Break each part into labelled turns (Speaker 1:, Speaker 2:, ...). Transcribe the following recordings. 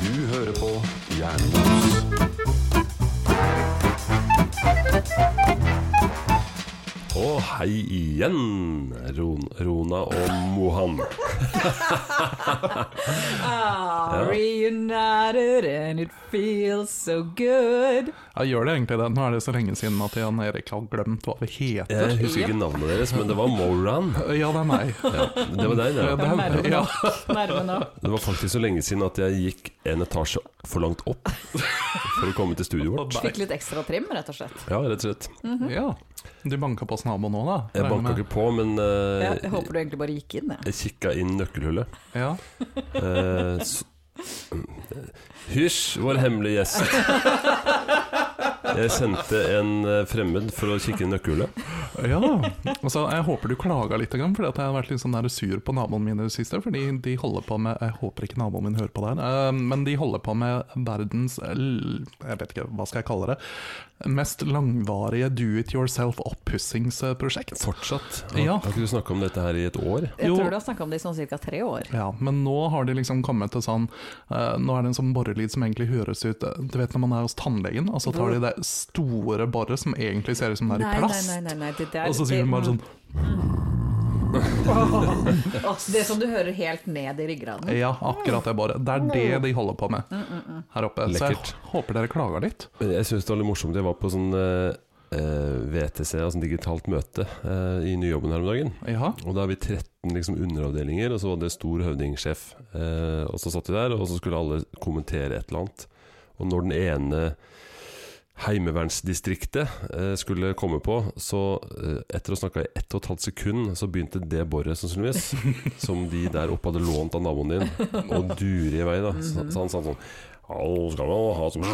Speaker 1: Du hører på Jernbos. Og hei igjen, Ron, Rona og Mohan.
Speaker 2: Are reunited and it feels so good.
Speaker 3: Ja, gjør det egentlig det? Nå er det så lenge siden at Jan Erik har glemt hva vi heter.
Speaker 1: Jeg husker ikke navnet deres, men det var Moran.
Speaker 3: Ja, det er meg.
Speaker 1: Ja, det var deg,
Speaker 3: Ja,
Speaker 1: det.
Speaker 3: det er
Speaker 2: Nærme
Speaker 3: meg.
Speaker 2: nå.
Speaker 3: Ja.
Speaker 2: Nærme nå.
Speaker 1: Det var faktisk så lenge siden at jeg gikk en etasje for langt opp for å komme til studioet vårt.
Speaker 2: Fikk litt ekstra trim, rett og
Speaker 3: Eh,
Speaker 2: slett.
Speaker 1: Ja, rett og slett.
Speaker 3: ja. Du banka på oss nabo nå, da?
Speaker 1: Jeg
Speaker 3: Regner
Speaker 1: banka
Speaker 3: med.
Speaker 1: ikke på, men eh,
Speaker 2: Jeg, jeg håper du egentlig bare gikk inn, jeg.
Speaker 1: jeg kikka inn nøkkelhullet.
Speaker 3: Ja.
Speaker 1: Eh, s- Hysj, vår hemmelige gjest. Jeg sendte en eh, fremmed for å kikke i nøkkelhullet.
Speaker 3: ja. Altså, jeg håper du klaga litt, for jeg har vært litt sånn der sur på naboene mine i det siste. Fordi de holder på med Jeg håper ikke naboen min hører på det her, eh, men de holder på med verdens l- Jeg vet ikke, hva skal jeg kalle det? Mest langvarige do it yourself-oppussingsprosjekt.
Speaker 1: Fortsatt. Har,
Speaker 3: Ja.
Speaker 1: har ikke du snakka om dette her i et år?
Speaker 2: Jeg
Speaker 3: Jo.
Speaker 2: tror du har snakka om det i sånn ca. tre år.
Speaker 3: Ja, men nå har de liksom kommet til sånn eh, Nå er det en sånn borrelyd som egentlig høres ut eh, Du vet når man er hos tannlegen, og så tar de det store borret som egentlig ser ut som det er i
Speaker 2: Nei, nei,
Speaker 3: plast.
Speaker 2: nei, nei, nei, det der
Speaker 3: Og så sier de bare sånn
Speaker 2: Åh, Det som du hører helt ned i ryggraden.
Speaker 3: Ja, akkurat det borret. Det er det de holder på med
Speaker 2: Mm,
Speaker 3: her oppe. Så jeg
Speaker 1: Lekkert.
Speaker 3: håper dere klager litt.
Speaker 1: Men Jeg syns det var litt morsomt. Jeg var på sånn eh, eh, VTC, altså en digitalt møte, eh, i nyjobben her om dagen.
Speaker 3: Ja.
Speaker 1: Og da er vi 13 liksom, underavdelinger, og så var det stor høvdingsjef. Eh, og så satt vi der, og så skulle alle kommentere et eller annet. Og når den ene heimevernsdistriktet eh, skulle komme på, så eh, etter å snakke i ett og et halvt sekund, så begynte det boret, sannsynligvis, som de der oppe hadde lånt av naboen din, å dure i vei. da. Så, så han sa sånn «Hallo, skal vi ha sånn ja,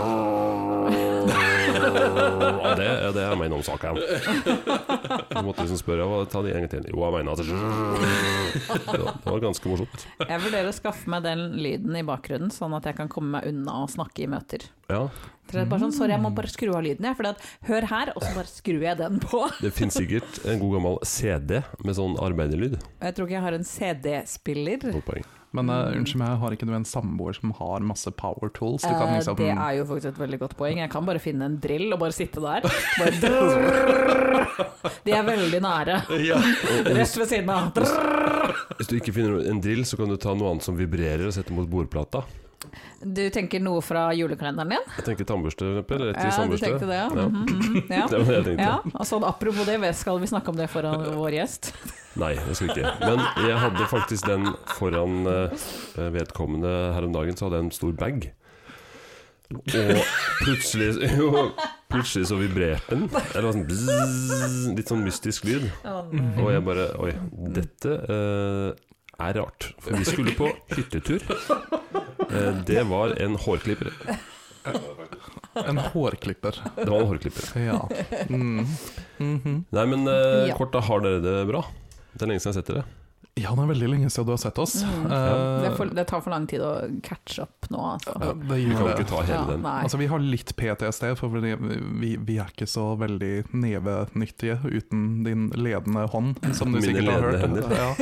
Speaker 1: det, ja, det er min om saken. Du måtte liksom spørre hva ta de en gang til. Jo, jeg mener at det var- Det var ganske morsomt.
Speaker 2: Jeg vurderer å skaffe meg den lyden i bakgrunnen, sånn at jeg kan komme meg unna og snakke i møter.
Speaker 1: Ja,
Speaker 2: Så det er Bare sånn, Sorry, jeg må bare skru av lyden, jeg. For hør her, og så bare skrur jeg den på.
Speaker 1: Det finnes sikkert en god gammel CD med sånn arbeiderlyd.
Speaker 2: Jeg tror ikke jeg har en CD-spiller.
Speaker 1: Godt poeng.
Speaker 3: Men eh,
Speaker 2: Mm.
Speaker 3: unnskyld meg, har ikke du en samboer som har masse power tools? Du kan
Speaker 2: Eh,
Speaker 3: liksom
Speaker 2: Det er jo faktisk et veldig godt poeng. Jeg kan bare finne en drill og bare sitte der. Bare drrrr. De er veldig nære.
Speaker 1: Og hvis,
Speaker 2: Rett ved siden av. Drrrr.
Speaker 1: hvis du ikke finner en drill, så kan du ta noe annet som vibrerer og sette mot bordplata.
Speaker 2: Du tenker noe fra julekalenderen din?
Speaker 1: Jeg tenker tannbørste, for eksempel. Rett i
Speaker 2: Ja, du
Speaker 1: tannbørste.
Speaker 2: tenkte det, ja.
Speaker 1: Ja.
Speaker 2: Mhm, mhm, ja.
Speaker 1: Det var det jeg tenkte.
Speaker 2: ja. og sånn, apropos det, vet- skal vi snakke om det foran vår gjest?
Speaker 1: Nei, jeg skal ikke. Men jeg hadde faktisk den foran eh, vedkommende her om dagen, så hadde jeg en stor bag. Og plutselig jo, Plutselig så vibrerte den. Eller var sånn bzzz, litt sånn mystisk lyd. Og jeg bare Oi, dette eh, er rart. For vi skulle på hyttetur. Eh, det var en hårklipper.
Speaker 3: en hårklipper.
Speaker 1: Det var en hårklipper.
Speaker 3: Ja. Mm. Mhm.
Speaker 1: Nei, men eh,
Speaker 2: Ja.
Speaker 1: kort, da har dere det bra? Det er lenge siden jeg har sett dere.
Speaker 3: ja, det er veldig lenge siden du har sett oss.
Speaker 2: Mm.
Speaker 3: Eh,
Speaker 2: Det, er for, det tar for lang tid å catche up nå, altså.
Speaker 3: eh, det
Speaker 1: Vi
Speaker 3: gjør
Speaker 1: kan jo
Speaker 3: det.
Speaker 1: ikke ta hele
Speaker 2: Ja,
Speaker 1: den.
Speaker 2: nei.
Speaker 3: Altså, vi har litt PTSD, for vi, vi, vi er ikke så veldig nevenyttige uten din ledende hånd, som du
Speaker 1: Mine
Speaker 3: sikkert har hørt.
Speaker 1: ledende
Speaker 3: Ja.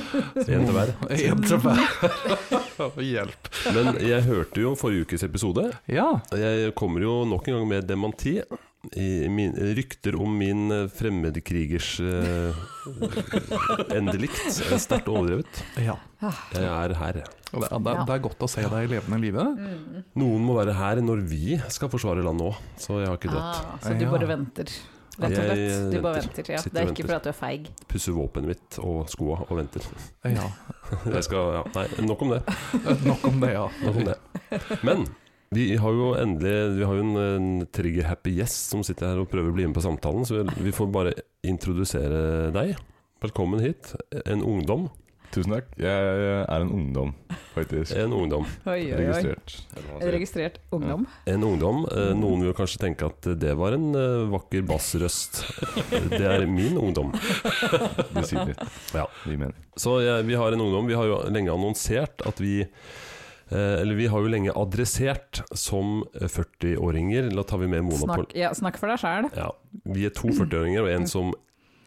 Speaker 1: En til hver.
Speaker 3: En til hver. Hjelp.
Speaker 1: Men jeg hørte jo forrige ukes episode.
Speaker 3: Ja.
Speaker 1: Jeg kommer jo nok en gang med dementi. I min, rykter om min eh, fremmedkrigers eh, endelikt er sterkt overdrevet.
Speaker 3: ja.
Speaker 1: Jeg er her.
Speaker 3: Og Det, det, det er godt å se deg i levende live.
Speaker 1: Noen må være her når vi skal forsvare landet òg, så jeg har ikke dratt.
Speaker 2: Ah, så du
Speaker 3: Ja.
Speaker 2: bare venter, rett og
Speaker 1: Jeg
Speaker 2: slett. Du bare
Speaker 1: venter.
Speaker 2: venter, ja. Det
Speaker 1: Sitter
Speaker 2: er
Speaker 1: og
Speaker 2: ikke
Speaker 1: venter.
Speaker 2: fordi at du er feig.
Speaker 1: Pusser våpenet mitt og skoa og venter.
Speaker 3: Ja.
Speaker 1: Jeg skal, ja, nei, nok om det.
Speaker 3: Eh, Nok om det, ja.
Speaker 1: Nok om det. Men vi har jo endelig Vi har jo en, en trigger-happy gjest som sitter her og prøver å bli med på samtalen, så vi, vi får bare introdusere deg. Velkommen hit. En ungdom.
Speaker 4: Tusen takk. Jeg er en ungdom, faktisk.
Speaker 1: En ungdom.
Speaker 2: Oi, oi, oi.
Speaker 4: Registrert. eller hva man sier.
Speaker 2: Registrert ungdom.
Speaker 1: En ungdom. eh, Noen vil kanskje tenke at det var en eh, vakker bassrøst. Eh, Det er min ungdom.
Speaker 4: Det sier litt.
Speaker 1: Ja.
Speaker 4: Gir mening.
Speaker 1: Så jeg- vi har en ungdom. Vi har jo lenge annonsert at vi eh, Eller vi har jo lenge adressert som 40-åringer. Da tar vi med Mona på
Speaker 2: Snakk, ja, snakk for deg sjæl.
Speaker 1: ja, Vi er to 40-åringer og en som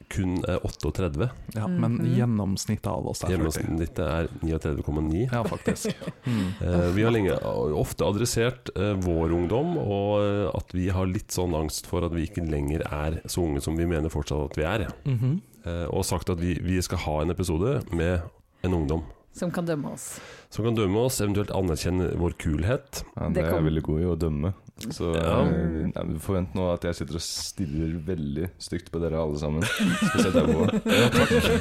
Speaker 1: kun er 38.
Speaker 3: Ja, men
Speaker 2: Mhm.
Speaker 3: gjennomsnittet av oss er 40.
Speaker 1: Gjennomsnittet er 39,9.
Speaker 3: Ja, faktisk. Mm.
Speaker 1: Eh, vi har lenge, ofte adressert eh, vår ungdom, og eh, at vi har litt sånn angst for at vi ikke lenger er så unge som vi mener fortsatt at vi er.
Speaker 3: Mhm.
Speaker 1: Eh, og sagt at vi, vi skal ha en episode med en ungdom
Speaker 2: som kan dømme oss.
Speaker 1: som kan dømme oss, eventuelt anerkjenne vår kulhet.
Speaker 4: Ja,
Speaker 2: Det
Speaker 4: det er
Speaker 2: kom-
Speaker 4: jeg veldig god i å dømme. Så
Speaker 1: Ja.
Speaker 4: eh, nei, men forvent nå at jeg sitter og stirrer veldig stygt på dere alle sammen. Spesielt jeg på.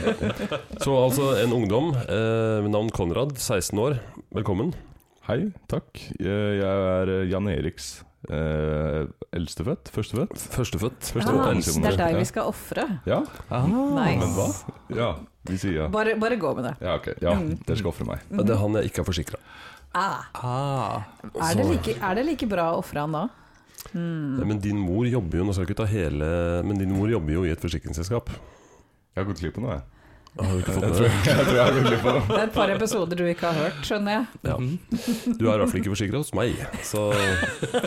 Speaker 1: Så altså en ungdom eh, med navn Konrad, 16 år. Velkommen.
Speaker 4: Hei, takk. Jeg jeg er eh, Jan Eriks eh, eldstefødt. Førstefødt.
Speaker 1: Førstefødt.
Speaker 4: Først
Speaker 2: Ah,
Speaker 4: og fremst.
Speaker 2: det er deg vi skal ofre.
Speaker 4: Ja,
Speaker 3: Ah.
Speaker 4: men hva?
Speaker 2: Nice.
Speaker 4: Ja, vi sier ja.
Speaker 2: Bare, bare gå med det.
Speaker 4: Ja, ok. Ja,
Speaker 2: Mm.
Speaker 4: dere skal ofre meg.
Speaker 1: Ja, Det er han jeg ikke har forsikra.
Speaker 2: Ah,
Speaker 3: Ah.
Speaker 2: er,
Speaker 1: Sånn.
Speaker 2: det like, er det like bra å ofre han da?
Speaker 1: Eh, Men din mor jobber jo nå skal jeg ikke ta hele, men din mor jobber jo i et forsikringsselskap.
Speaker 4: Jeg har gått glipp av noe, jeg.
Speaker 1: Har du ikke fått
Speaker 4: Jeg
Speaker 1: med
Speaker 4: tror
Speaker 1: det?
Speaker 4: jeg, jeg, tror jeg har gått glipp av noe.
Speaker 2: Det er et par episoder du ikke har hørt, skjønner jeg.
Speaker 1: Ja. Du er i hvert fall ikke forsikra hos meg, så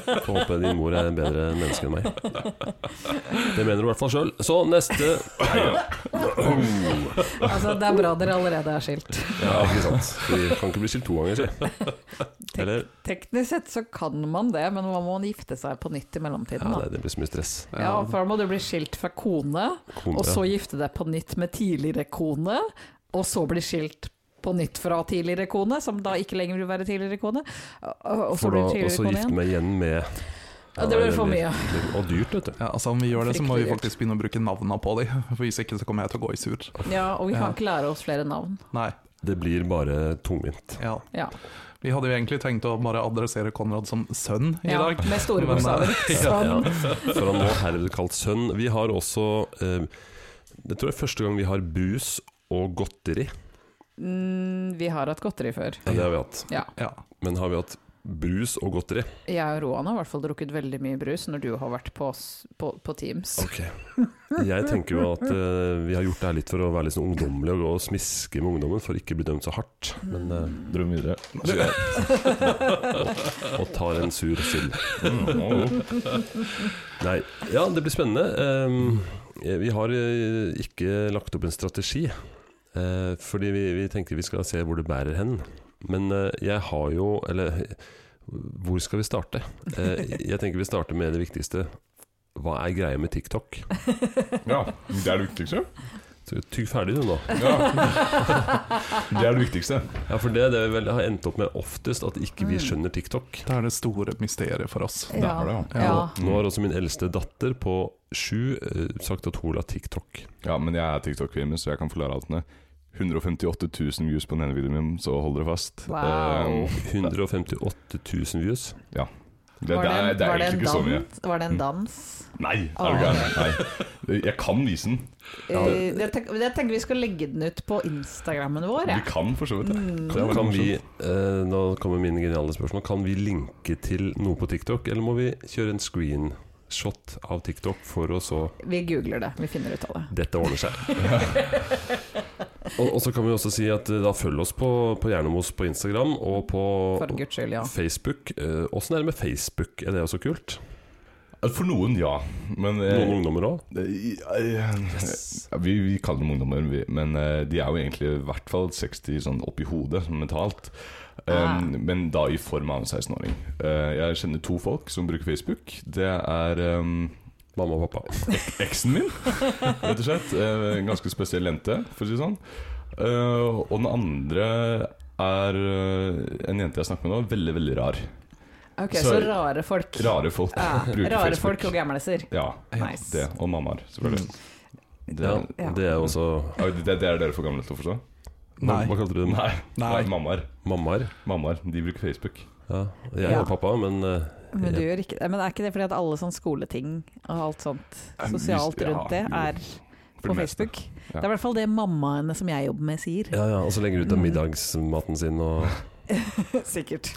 Speaker 1: får håpe din mor er en bedre menneske enn meg. Det mener du i hvert fall sjøl. Så neste
Speaker 2: Altså, det er bra dere allerede er skilt.
Speaker 1: Ja, ikke sant. Vi kan ikke bli skilt to ganger, si. Eller
Speaker 2: Teknisk sett så kan man det, men man må gifte seg på nytt i
Speaker 1: Ja,
Speaker 2: mellomtiden.
Speaker 1: nei,
Speaker 2: Da.
Speaker 1: det blir så mye stress.
Speaker 2: Ja, for da må du bli skilt fra kone,
Speaker 1: Kone,
Speaker 2: og så
Speaker 1: ja.
Speaker 2: gifte deg på nytt med tidligere kone, og så bli skilt på nytt fra tidligere kone, som da ikke lenger vil være tidligere kone. Og og så
Speaker 1: For da
Speaker 2: blir du
Speaker 1: også
Speaker 2: tidligere kone
Speaker 1: gifte
Speaker 2: igjen.
Speaker 1: meg igjen med
Speaker 2: Ja, det blir for mye.
Speaker 1: Og dyrt, vet du.
Speaker 3: Ja, altså Om vi gjør det, så må vi
Speaker 2: Fryktelig dyrt.
Speaker 3: faktisk begynne å bruke navnene på dem. Hvis ikke så kommer jeg til å gå i sur.
Speaker 2: Ja, og vi
Speaker 3: Ja.
Speaker 2: kan ikke lære oss flere navn.
Speaker 3: Nei,
Speaker 1: Det blir bare tungvint.
Speaker 3: ja.
Speaker 2: Ja,
Speaker 3: Vi hadde jo egentlig tenkt å bare adressere Konrad som sønn i
Speaker 2: ja
Speaker 3: dag.
Speaker 2: Med store
Speaker 3: Men, eh,
Speaker 2: bokstaver.
Speaker 1: Ja,
Speaker 2: Sånn.
Speaker 1: for han nå herved kalt sønn. Vi har også eh, Det tror jeg er første gang vi har brus og godteri.
Speaker 2: Mm, vi har hatt godteri før.
Speaker 1: Ja, det har vi hatt.
Speaker 2: Ja.
Speaker 3: Ja.
Speaker 1: Men har vi hatt brus og godteri?
Speaker 2: Jeg og Roan har i hvert fall drukket veldig mye brus når du har vært på, s- på, på Teams.
Speaker 1: Ok. Jeg tenker jo at eh, vi har gjort det her litt for å være litt sånn ungdommelig og gå og smiske med ungdommen for ikke bli dømt så hardt. Men
Speaker 2: Mm.
Speaker 1: eh,
Speaker 4: Drøm videre.
Speaker 1: og tar en sur sild.
Speaker 4: Mm,
Speaker 1: Nei. Ja, det blir spennende. Ehm, eh, vi har eh, ikke lagt opp en strategi, eh, fordi vi, vi tenker vi skal se hvor det bærer hen. Men eh, jeg har jo Eller eh, hvor skal vi starte? Eh, jeg tenker vi starter med det viktigste. Hva er greia med TikTok?
Speaker 4: Ja, det er liksom. det viktigste.
Speaker 1: Så Tygg ferdig du nå.
Speaker 4: Ja. Det er det viktigste.
Speaker 1: Ja, for det er det vi vel har endt opp med oftest, at ikke vi skjønner TikTok.
Speaker 3: Det er det store mysteriet for oss.
Speaker 4: Der var det,
Speaker 2: ja.
Speaker 3: ja.
Speaker 1: Nå har også min eldste datter på sju eh, sagt at hun la TikTok.
Speaker 4: Ja, men jeg er TikTok-kvimme, så jeg kan forklare alt med 158 000 views på den ene videoen min, så hold dere fast.
Speaker 2: Wow.
Speaker 4: Eh,
Speaker 1: 158 000 views.
Speaker 4: ja. Det, det,
Speaker 2: Var det,
Speaker 4: er,
Speaker 2: en-
Speaker 4: det er
Speaker 2: var det
Speaker 4: egentlig
Speaker 2: en
Speaker 4: ikke så mye. Mm.
Speaker 2: dans? Var det en dans?
Speaker 4: Nei, er du gæren? Nei. Jeg kan vise den.
Speaker 2: Eh, Jeg, tenker, jeg tenker vi skal legge den ut på Instagrammen vår.
Speaker 4: Du
Speaker 2: jeg.
Speaker 4: kan for så vidt
Speaker 2: Mm.
Speaker 4: det.
Speaker 1: Kan, kan vi, eh, nå kommer mine geniale spørsmål, kan vi linke til noe på TikTok, eller må vi kjøre en screenshot av TikTok for å så
Speaker 2: Vi googler det. Vi finner ut av det.
Speaker 1: Dette ordner seg. og, og så kan vi også si at eh, da følg oss på, på Hjernemos på Instagram og på
Speaker 2: For guds skyld, ja.
Speaker 1: Facebook. Eh, Åssen er det med Facebook, er det også kult?
Speaker 4: For noen, ja. Men eh,
Speaker 1: Noen ungdommer òg?
Speaker 4: eh, eh, ja, vi, vi kaller dem ungdommer, vi, men eh, de er jo egentlig i hvert fall 60 sånn oppi hodet sånn mentalt. Eh,
Speaker 2: Ah.
Speaker 4: Men da i form av en 16-åring. Eh, jeg kjenner to folk som bruker Facebook. Det er eh,
Speaker 1: Mamma og pappa.
Speaker 4: eksen min, rett og slett. Eh, En ganske spesiell jente, for å si det sånn. Eh, Og den andre er eh, en jente jeg snakker med nå, veldig, veldig rar.
Speaker 2: Ok, så,
Speaker 4: Sorry.
Speaker 2: rare folk.
Speaker 4: Rare folk
Speaker 2: Ja,
Speaker 4: bruker
Speaker 2: Ah, rare
Speaker 4: Facebook.
Speaker 2: folk og gamleser.
Speaker 4: Ja,
Speaker 2: Nice.
Speaker 4: det. Og mammaer, selvfølgelig. Det,
Speaker 1: Ja,
Speaker 4: er-
Speaker 2: Mm. Ja.
Speaker 1: det er også
Speaker 4: Ja, det, det er dere for gamle til å forstå?
Speaker 1: Hva,
Speaker 3: Nei.
Speaker 1: hva kalte du dem?
Speaker 4: Nei.
Speaker 3: Nei.
Speaker 4: Nei, Mammaer.
Speaker 1: Mammaer?
Speaker 4: Mammaer, de bruker Facebook.
Speaker 1: Ja, jeg
Speaker 2: Ja.
Speaker 1: og pappa, men eh,
Speaker 2: Men, du gjør ikke, det. men er ikke det fordi at alle sånne skoleting og alt sånt
Speaker 4: Ja, men
Speaker 2: sosialt
Speaker 4: hvis- ja,
Speaker 2: rundt det er
Speaker 4: For
Speaker 2: på
Speaker 4: det meste.
Speaker 2: Facebook? Det er i hvert fall det mammaene som jeg jobber med sier.
Speaker 1: ja, ja, og så legger du ut av middagsmaten sin og
Speaker 2: Sikkert.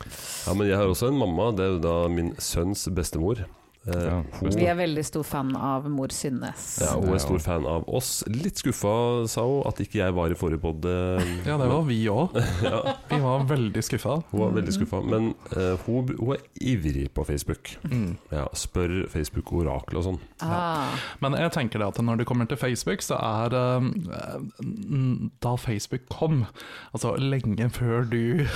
Speaker 1: Ja, men jeg har også en mamma, det er jo da min sønns bestemor. Eh,
Speaker 4: Ja,
Speaker 1: hun,
Speaker 2: Vi er veldig stor fan av mor Synnes.
Speaker 1: ja, hun er stor fan av oss. Litt skuffa, sa hun, at ikke jeg var i forrige pod.
Speaker 3: Ja, det var vi òg.
Speaker 1: ja,
Speaker 3: Vi var veldig skuffa.
Speaker 1: hun var veldig skuffa. Men eh, hun, br- hun er ivrig på Facebook.
Speaker 3: Mm.
Speaker 1: Ja, spør Facebook-orakelet og sånn.
Speaker 2: Ah,
Speaker 3: Men jeg tenker det at når det kommer til Facebook, så er eh, mm, Da Facebook kom, altså lenge før du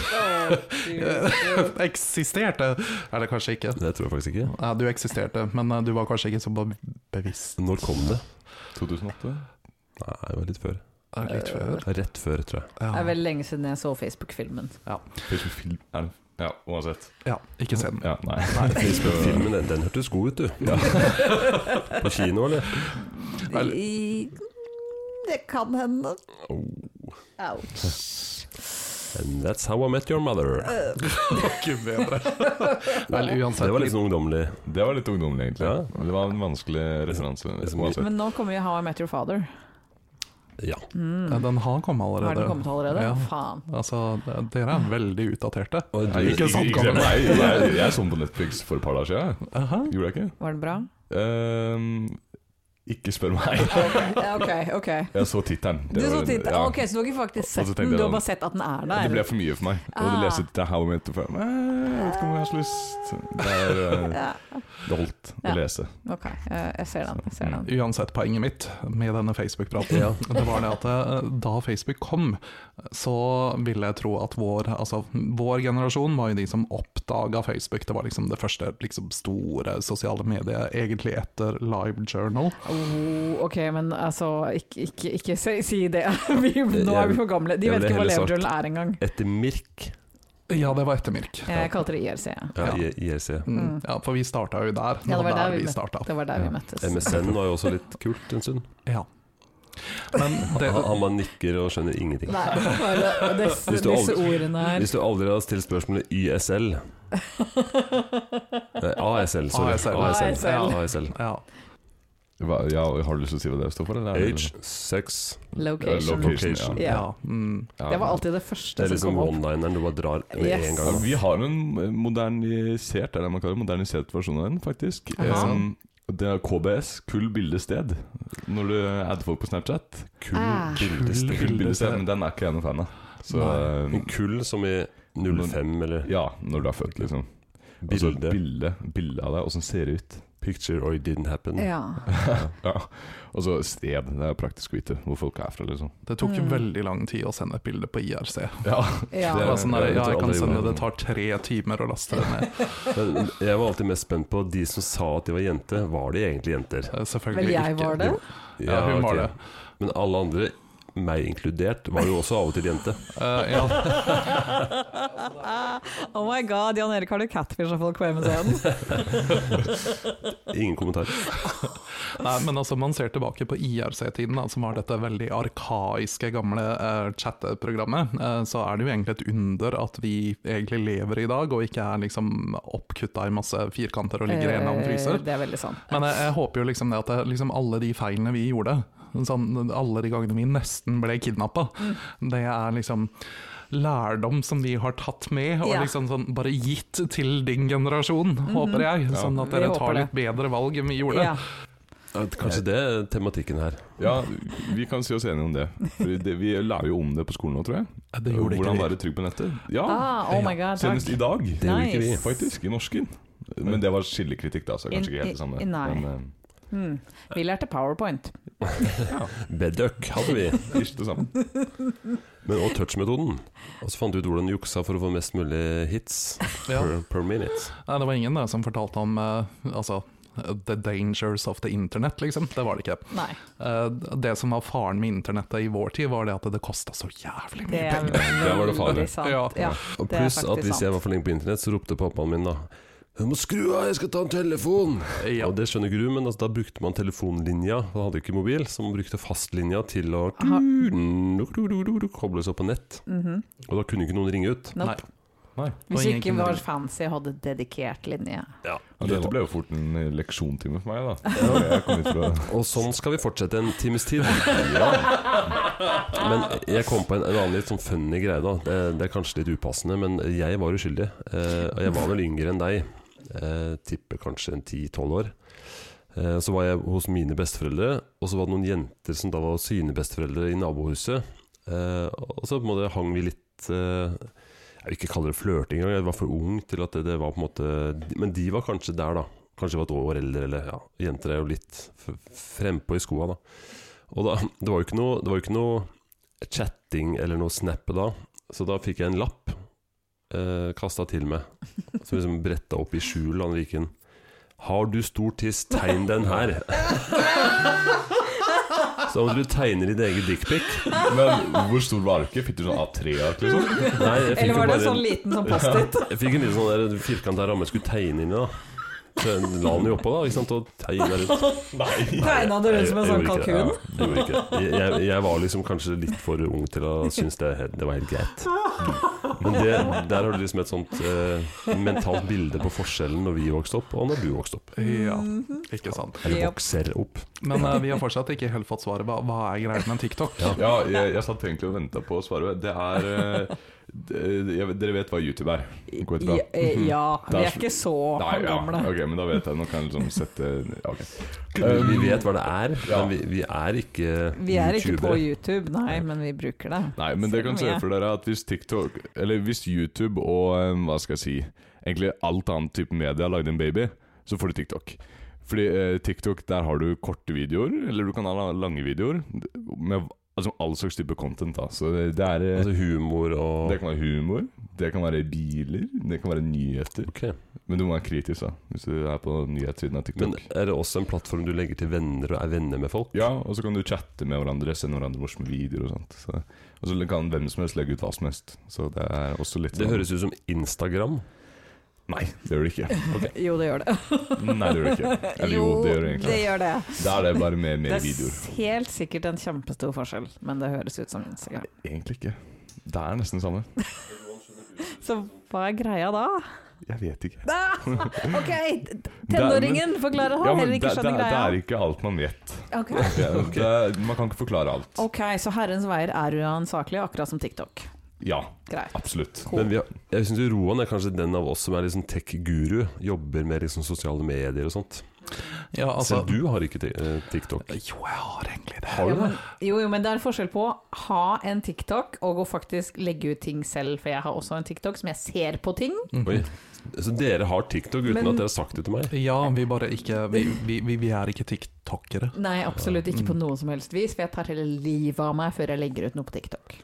Speaker 3: eksisterte Er det kanskje ikke?
Speaker 1: Det tror jeg faktisk ikke.
Speaker 3: Ja, du eksisterte, men eh, du var kanskje ikke så be- bevisst.
Speaker 1: Når kom det?
Speaker 4: 2008?
Speaker 1: Nei, det var litt før.
Speaker 3: Eh, Litt før.
Speaker 1: Rett før, tror jeg.
Speaker 2: det
Speaker 3: Ja,
Speaker 2: er veldig lenge siden jeg så Facebook-filmen.
Speaker 4: Facebook film er det? Ja, uansett.
Speaker 3: ja ikke se den.
Speaker 4: Ja, nei.
Speaker 1: Filmen, den, den hørtes god ut, du. på kino, eller?
Speaker 3: Vel-
Speaker 2: I- mm, Det kan hende. Ouch.
Speaker 1: And that's how I met your mother.
Speaker 3: Gud bedre. Vel, uansett.
Speaker 1: Det var litt sånn ungdommelig.
Speaker 4: Det var litt ungdommelig, egentlig.
Speaker 1: Ja.
Speaker 4: Det var en vanskelig referanse.
Speaker 1: Liksom-
Speaker 4: Uansett.
Speaker 2: Men nå kommer jo How I Met Your Father.
Speaker 1: Ja.
Speaker 2: Mm.
Speaker 3: Ja, Den har kommet allerede.
Speaker 2: Har den kommet allerede?
Speaker 3: Ja.
Speaker 2: Faen.
Speaker 3: Altså, d- dere er veldig utdaterte.
Speaker 1: Og
Speaker 4: Nei,
Speaker 1: du,
Speaker 3: Ikke sånn gammel.
Speaker 4: glem- Nei, jeg, jeg så den på Netflix for et par dager siden. jeg.
Speaker 3: Aha.
Speaker 4: Gjorde jeg ikke?
Speaker 2: Var den bra?
Speaker 4: Ehm, ikke spør meg.
Speaker 2: Ja, ok, ok.
Speaker 4: Jeg så tittelen.
Speaker 2: Du
Speaker 4: Det var-
Speaker 2: så titt-
Speaker 4: ja.
Speaker 2: Ok, så du har ikke faktisk
Speaker 4: Og så
Speaker 2: sett
Speaker 4: tenkte
Speaker 2: den,
Speaker 4: jeg
Speaker 2: du har
Speaker 4: da-
Speaker 2: bare sett at den er
Speaker 4: Det
Speaker 2: der.
Speaker 4: ble for mye for meg. Og
Speaker 2: Ah.
Speaker 4: det leste til How I Met Your Father. Eh, Jeg vet ikke om jeg har så lyst Det, er, eh,
Speaker 2: Ja,
Speaker 4: det holdt
Speaker 2: Ja.
Speaker 4: å lese.
Speaker 2: ok, eh, jeg ser den. Jeg ser den.
Speaker 3: Uansett, poenget mitt med denne Facebook-praten
Speaker 1: Ja.
Speaker 3: Det var det at eh, da Facebook kom, så ville jeg tro at vår, altså, vår generasjon var jo de som oppdaga Facebook. Det var liksom det første liksom, store sosiale mediet, egentlig etter Live Journal.
Speaker 4: Mm.
Speaker 2: Oh, ok, men altså, ikke, ikke, ikke si, si det. Vi, nå er vi for gamle. De
Speaker 1: Jeg
Speaker 2: vet
Speaker 1: ville
Speaker 2: ikke hva
Speaker 1: heller sagt-
Speaker 2: leverjournal er engang.
Speaker 1: etter Mirk.
Speaker 3: Ja, det var etter Mirk.
Speaker 2: Jeg kalte det IRC. ja.
Speaker 1: Ja,
Speaker 3: Ja.
Speaker 1: I- IRC.
Speaker 3: Mm, ja, for vi starta jo der.
Speaker 2: Ja, det var der vi
Speaker 3: vi
Speaker 2: møtte-
Speaker 3: starta.
Speaker 2: Det var der vi
Speaker 4: Ja.
Speaker 2: møttes.
Speaker 1: MSN var jo også litt kult en stund.
Speaker 3: Ja. Men det,
Speaker 1: Han, han bare nikker og skjønner ingenting.
Speaker 2: Nei, bare disse,
Speaker 1: Hvis du
Speaker 2: disse
Speaker 1: aldri-
Speaker 2: ordene her.
Speaker 1: Hvis du aldri har stilt spørsmålet YSL Nei, ASL, sorry.
Speaker 3: ASL.
Speaker 1: ASL.
Speaker 2: ASL.
Speaker 1: ASL.
Speaker 3: ja.
Speaker 4: Hva, ja, har du lyst til å si hva det står for? Eller?
Speaker 1: Age, sex
Speaker 4: Ja,
Speaker 2: Location.
Speaker 4: location.
Speaker 2: Ja.
Speaker 3: ja. Mm.
Speaker 4: Ja.
Speaker 2: Det var alltid det første
Speaker 1: Det er
Speaker 2: som
Speaker 1: liksom
Speaker 2: kom opp.
Speaker 1: one-lineren du bare drar med
Speaker 2: Yes.
Speaker 1: en
Speaker 4: Ja,
Speaker 1: gang.
Speaker 4: vi har en modernisert eller man kaller det, modernisert versjon av den, faktisk.
Speaker 2: Aha.
Speaker 4: Ehm, det er KBS, kull bildested, når du adder folk på Snapchat.
Speaker 1: Kull
Speaker 2: Ah.
Speaker 1: bildestil.
Speaker 4: Kull bildested, men den er ikke jeg noen fan av. Så
Speaker 1: En
Speaker 4: ehm,
Speaker 1: kull som i 05 eller
Speaker 4: ja, når du er født, liksom. Altså,
Speaker 1: bilde.
Speaker 4: bilde, bilde av deg, åssen ser det ut?
Speaker 1: Picture or it didn't happen.
Speaker 2: Ja.
Speaker 4: ja. Og så sted. Det er praktisk å vite hvor folk er fra, liksom.
Speaker 3: Det tok
Speaker 2: Mm.
Speaker 3: veldig lang tid å sende et bilde på IRC.
Speaker 4: Ja.
Speaker 2: ja.
Speaker 3: Det
Speaker 4: Det
Speaker 3: var
Speaker 4: er-
Speaker 3: sånn der,
Speaker 1: jeg
Speaker 3: ja,
Speaker 1: tror
Speaker 3: jeg kan
Speaker 1: alle gjorde
Speaker 3: sende det,
Speaker 1: det.
Speaker 3: det tar tre timer å laste det ned.
Speaker 1: Men jeg var alltid mest spent på de som sa at de var jente. Var de egentlig jenter?
Speaker 3: Eh, Selvfølgelig
Speaker 2: Vel, jeg
Speaker 3: ikke.
Speaker 2: var det.
Speaker 3: Ja, hun var
Speaker 1: ok.
Speaker 3: det.
Speaker 1: Men alle andre, meg inkludert, var jo også av og til jente.
Speaker 3: Eh, ja.
Speaker 2: oh my god, Jan Erik har du catfish av folk på MSN?
Speaker 1: Ingen kommentar.
Speaker 3: Nei, men altså, man ser tilbake på IRC-tiden, da, som var dette veldig arkaiske, gamle eh, chatteprogrammet. eh, så er det jo egentlig et under at vi egentlig lever i dag, og ikke er liksom oppkutta i masse firkanter og ligger i en eller
Speaker 2: Eh,
Speaker 3: annen fryser.
Speaker 2: Det er veldig sant.
Speaker 3: Men jeg, jeg håper jo liksom det at det, liksom alle de feilene vi gjorde, sånn, alle de gangene vi nesten ble kidnappa,
Speaker 2: Mm.
Speaker 3: det er liksom lærdom som de har tatt med, og
Speaker 2: Ja. Mhm.
Speaker 3: liksom sånn bare gitt til din generasjon, håper jeg. Sånn at
Speaker 2: Vi
Speaker 3: dere
Speaker 2: håper
Speaker 3: tar
Speaker 2: det.
Speaker 3: litt bedre valg enn vi gjorde.
Speaker 2: Ja.
Speaker 1: Kanskje det er tematikken her.
Speaker 4: ja, vi kan si oss enige om det. Fordi det. Vi lærer jo om det på skolen nå, tror jeg.
Speaker 3: Det gjorde ikke
Speaker 4: Hvordan
Speaker 3: vi.
Speaker 4: være trygg på nettet. Ja,
Speaker 2: Ah, oh my god, takk.
Speaker 4: senest i dag. Det
Speaker 2: gjorde ikke vi. Nice.
Speaker 4: Faktisk, i norsken. Men det var skillekritikk, da, så kanskje ikke helt det samme.
Speaker 2: I- i- nei.
Speaker 4: Men,
Speaker 2: Mm. Vi lærte powerpoint.
Speaker 1: Bedøk hadde vi.
Speaker 4: eh, ish det samme.
Speaker 1: Men også touch-metoden. Og så fant du ut hvordan du juksa for å få mest mulig hits
Speaker 3: Ja.
Speaker 1: per, per minute.
Speaker 3: Nei, det var ingen der som fortalte om eh, altså, the dangers of the internet, liksom. Det var det ikke.
Speaker 2: Nei,
Speaker 3: Eh, det som var faren med internettet i vår tid, var det at det kosta så jævlig mye
Speaker 2: det er
Speaker 3: penger.
Speaker 4: var
Speaker 2: veldig
Speaker 4: det farlig.
Speaker 2: sant.
Speaker 3: Ja.
Speaker 2: Ja.
Speaker 1: Og
Speaker 2: Det er
Speaker 1: pluss at
Speaker 2: faktisk
Speaker 1: hvis jeg
Speaker 2: sant.
Speaker 1: var for lenge på internett, så ropte pappaen min da Du må skru av, jeg skal ta en telefon!
Speaker 3: Ja.
Speaker 1: Og det skjønner ikke du, men altså, da brukte man telefonlinja, man hadde jo ikke mobil, så man brukte fastlinja til å
Speaker 2: Aha.
Speaker 1: koble seg opp på nett.
Speaker 2: Mhm.
Speaker 1: Og da kunne ikke noen ringe ut.
Speaker 2: Nope. Hvis
Speaker 4: Nei.
Speaker 3: Og ingen
Speaker 2: vi ikke
Speaker 3: kunne
Speaker 2: var
Speaker 3: ringe.
Speaker 2: fancy og hadde dedikert linje.
Speaker 4: Ja, dette ble jo fort en leksjontime for meg, da. Jeg kom hit for å
Speaker 1: Og sånn skal vi fortsette en times tid. Men jeg kom på en, en annen litt sånn funny greie. da det, det er kanskje litt upassende, men jeg var uskyldig. Eh, og jeg var vel yngre enn deg. eh, tipper kanskje en 10-12 år. Eh, så var jeg hos mine besteforeldre, og så var det noen jenter som da var synebesteforeldre i nabohuset. Eh, og så på en måte hang vi litt eh, Jeg vil ikke kalle det flørting engang, jeg var for ung til at det, det var på en måte Men de var kanskje der, da. Kanskje de var et år eldre, eller ja, jenter er jo litt f- frempå i skoa, da. Og da, det var jo ikke noe, det var jo ikke noe chatting eller noe snap da, så da fikk jeg en lapp eh, kasta til meg, som liksom bretta opp i skjul av Viken. Har du stor tiss, tegn den her. Så da måtte du tegne ditt eget dickpic.
Speaker 4: Men hvor stor var arket? Fikk du sånn A3-ark, liksom?
Speaker 1: Nei, jeg fikk
Speaker 2: Eller
Speaker 1: jo
Speaker 2: var det
Speaker 1: bare
Speaker 2: sånn
Speaker 1: en-
Speaker 2: liten sånn post-it?
Speaker 1: Jeg fikk en liten sånn der firkanta ramme jeg skulle tegne inn i, da. Så jeg la den jo oppå, da, ikke sant, og tegna rundt.
Speaker 4: Nei.
Speaker 2: Tegna det rundt som en
Speaker 1: Jeg-
Speaker 2: sånn
Speaker 1: jeg gjorde ikke
Speaker 2: kalkun?
Speaker 1: det. Ja, jeg gjorde ikke det. Jeg, jeg, jeg var liksom kanskje litt for ung til å synes det, he- det var helt greit. Men det, der har du liksom et sånt eh, mentalt bilde på forskjellen når vi vokste opp, og når du vokste opp.
Speaker 3: Ja,
Speaker 2: Mhm.
Speaker 3: ikke sant.
Speaker 1: Eller
Speaker 2: Yep.
Speaker 1: vokser opp.
Speaker 3: Men eh, vi har fortsatt ikke helt fått svaret. Hva, hva er greia med TikTok?
Speaker 4: Ja, jeg, jeg satt egentlig og venta på svaret. Det er eh, det- jeg, Dere vet hva YouTube er? Går det bra?
Speaker 2: Ja, eh, ja, vi er ikke så
Speaker 4: Nei, ja.
Speaker 2: gamle.
Speaker 4: Ok, men da vet jeg. Nå kan jeg liksom sette ja, ok.
Speaker 1: Vi vet hva det er,
Speaker 4: Ja.
Speaker 1: men vi, vi er ikke
Speaker 2: Vi er ikke på
Speaker 1: youtubere.
Speaker 2: YouTube, nei, men vi bruker det.
Speaker 4: Nei, men det kan se for dere at hvis TikTok Eller hvis YouTube og eh, hva skal jeg si Egentlig alt annet type media lagde en baby, så får du TikTok. Fordi eh, TikTok, der har du korte videoer, eller du kan ha la- lange videoer. Med altså, all slags type content, da. Så det, det er eh,
Speaker 1: Altså humor og
Speaker 4: Det kan være humor, det kan være biler, det kan være nyheter.
Speaker 1: Ok.
Speaker 4: Men du må være kritisk, da, hvis du er på nyhetssiden
Speaker 1: Men
Speaker 4: av TikTok.
Speaker 1: er det også en plattform du legger til venner og er venner med folk?
Speaker 4: ja, og så kan du chatte med hverandre, sende hverandre morsomme videoer og sånt. Så, og så kan hvem som helst legge ut hva som helst. Så det er også litt sånn-
Speaker 1: Det høres ut som Instagram.
Speaker 4: Nei, det gjør det ikke.
Speaker 2: Jo, det gjør det.
Speaker 4: Nei, det gjør det ikke. Eller jo, det gjør det egentlig.
Speaker 2: Det gjør det.
Speaker 4: Da er det bare
Speaker 2: Det
Speaker 4: med mer videoer.
Speaker 2: er helt sikkert en kjempestor forskjell, men det høres ut som Instagram.
Speaker 4: Egentlig ikke. Det er nesten det samme.
Speaker 2: Så hva er greia da?
Speaker 4: Jeg vet ikke.
Speaker 2: Ah, ok, tenåringen forklarer
Speaker 4: Ja,
Speaker 2: han
Speaker 4: men
Speaker 2: heller
Speaker 4: det,
Speaker 2: ikke
Speaker 4: det,
Speaker 2: skjønner
Speaker 4: det er
Speaker 2: greia.
Speaker 4: ikke alt man vet.
Speaker 2: Ok,
Speaker 4: Det, er- man kan ikke forklare alt.
Speaker 2: Ok, så herrens veier er uansakelig, akkurat som TikTok.
Speaker 4: Ja,
Speaker 2: Greit.
Speaker 4: absolutt.
Speaker 2: Cool.
Speaker 1: Men vi har, jeg syns Roan er kanskje den av oss som er liksom tech-guru. Jobber med liksom sosiale medier og sånt.
Speaker 3: Ja, altså,
Speaker 1: Selv du har ikke ti- eh, TikTok.
Speaker 3: jo, jeg har egentlig det.
Speaker 1: Har
Speaker 2: Jo
Speaker 1: du det?
Speaker 2: men, jo, jo, men det er en forskjell på å ha en TikTok og å faktisk legge ut ting selv, for jeg har også en TikTok som jeg ser på ting.
Speaker 3: Mhm.
Speaker 1: Oi. Så dere har TikTok uten
Speaker 2: Men-
Speaker 1: at dere har sagt det til meg?
Speaker 3: Ja, vi bare ikke Vi, vi, vi, vi er ikke tiktokere.
Speaker 2: Nei, absolutt ikke
Speaker 4: Mm.
Speaker 2: på noe som helst vis, for jeg tar hele livet av meg før jeg legger ut noe på TikTok.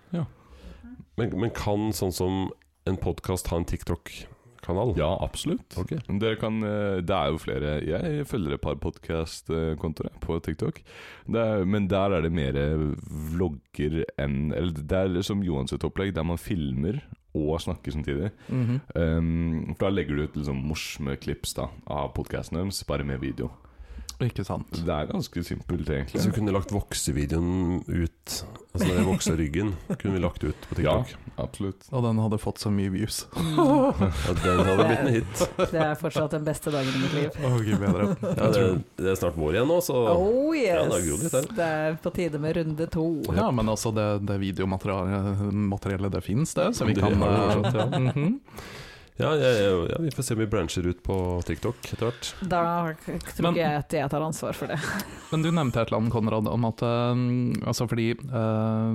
Speaker 1: Men, men kan sånn som en podkast ha en TikTok-kanal?
Speaker 4: Ja, absolutt.
Speaker 1: Oh. Ok.
Speaker 4: Men Dere kan, eh, det er jo flere Jeg følger et par podkastkontoer på TikTok. Det er, men der er det mer eh, vlogger enn Eller det er som Johans sitt opplegg, der man filmer og snakker samtidig.
Speaker 3: Mhm.
Speaker 4: Um, for da legger du ut liksom morsomme klips da av podkasten deres, bare med video.
Speaker 3: Ikke sant.
Speaker 4: Det er ganske simpelt,
Speaker 1: Så vi
Speaker 4: egentlig.
Speaker 1: kunne lagt voksevideoen ut. Altså når jeg vokser ryggen, kunne vi lagt ut på
Speaker 4: Ja,
Speaker 1: TikTok.
Speaker 4: absolutt.
Speaker 3: Og den hadde fått så mye views.
Speaker 1: Ja, den hadde blitt en hit.
Speaker 2: Mm, Det er fortsatt den beste dagen i mitt liv.
Speaker 3: Å, gud bedre.
Speaker 1: Ja, det, det er snart vår igjen nå, så
Speaker 2: Oh
Speaker 1: Ja, det har
Speaker 2: yes!
Speaker 1: grodd litt her.
Speaker 2: Det er på tide med runde to.
Speaker 3: Ja, men altså, det, det videomaterialet materiellet, det fins, det. Så vi
Speaker 1: Det
Speaker 3: kan
Speaker 1: har
Speaker 3: eh,
Speaker 1: det fortsatt, ja.
Speaker 3: mhm.
Speaker 1: ja, ja, ja, ja, vi får se om vi brancher ut på TikTok etter hvert.
Speaker 2: Da k- tror
Speaker 3: Men-
Speaker 2: ikke jeg at jeg tar ansvar for det.
Speaker 3: Men du nevnte et eller annet, Konrad, om at eh, altså fordi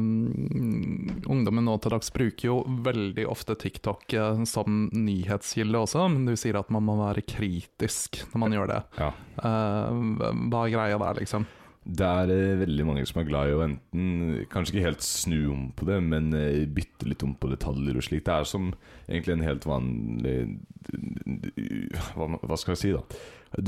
Speaker 3: eh, ungdommen nå til dags bruker jo veldig ofte TikTok eh, som nyhetskilde også, men du sier at man må være kritisk når man gjør det.
Speaker 4: Ja.
Speaker 3: Eh, hva er greia der, liksom?
Speaker 4: Det er eh, veldig mange som er glad i å enten eh, Kanskje ikke helt snu om på det, men eh, bytte litt om på detaljer og slikt. Det er som egentlig en helt vanlig Hva, hva skal jeg si, da?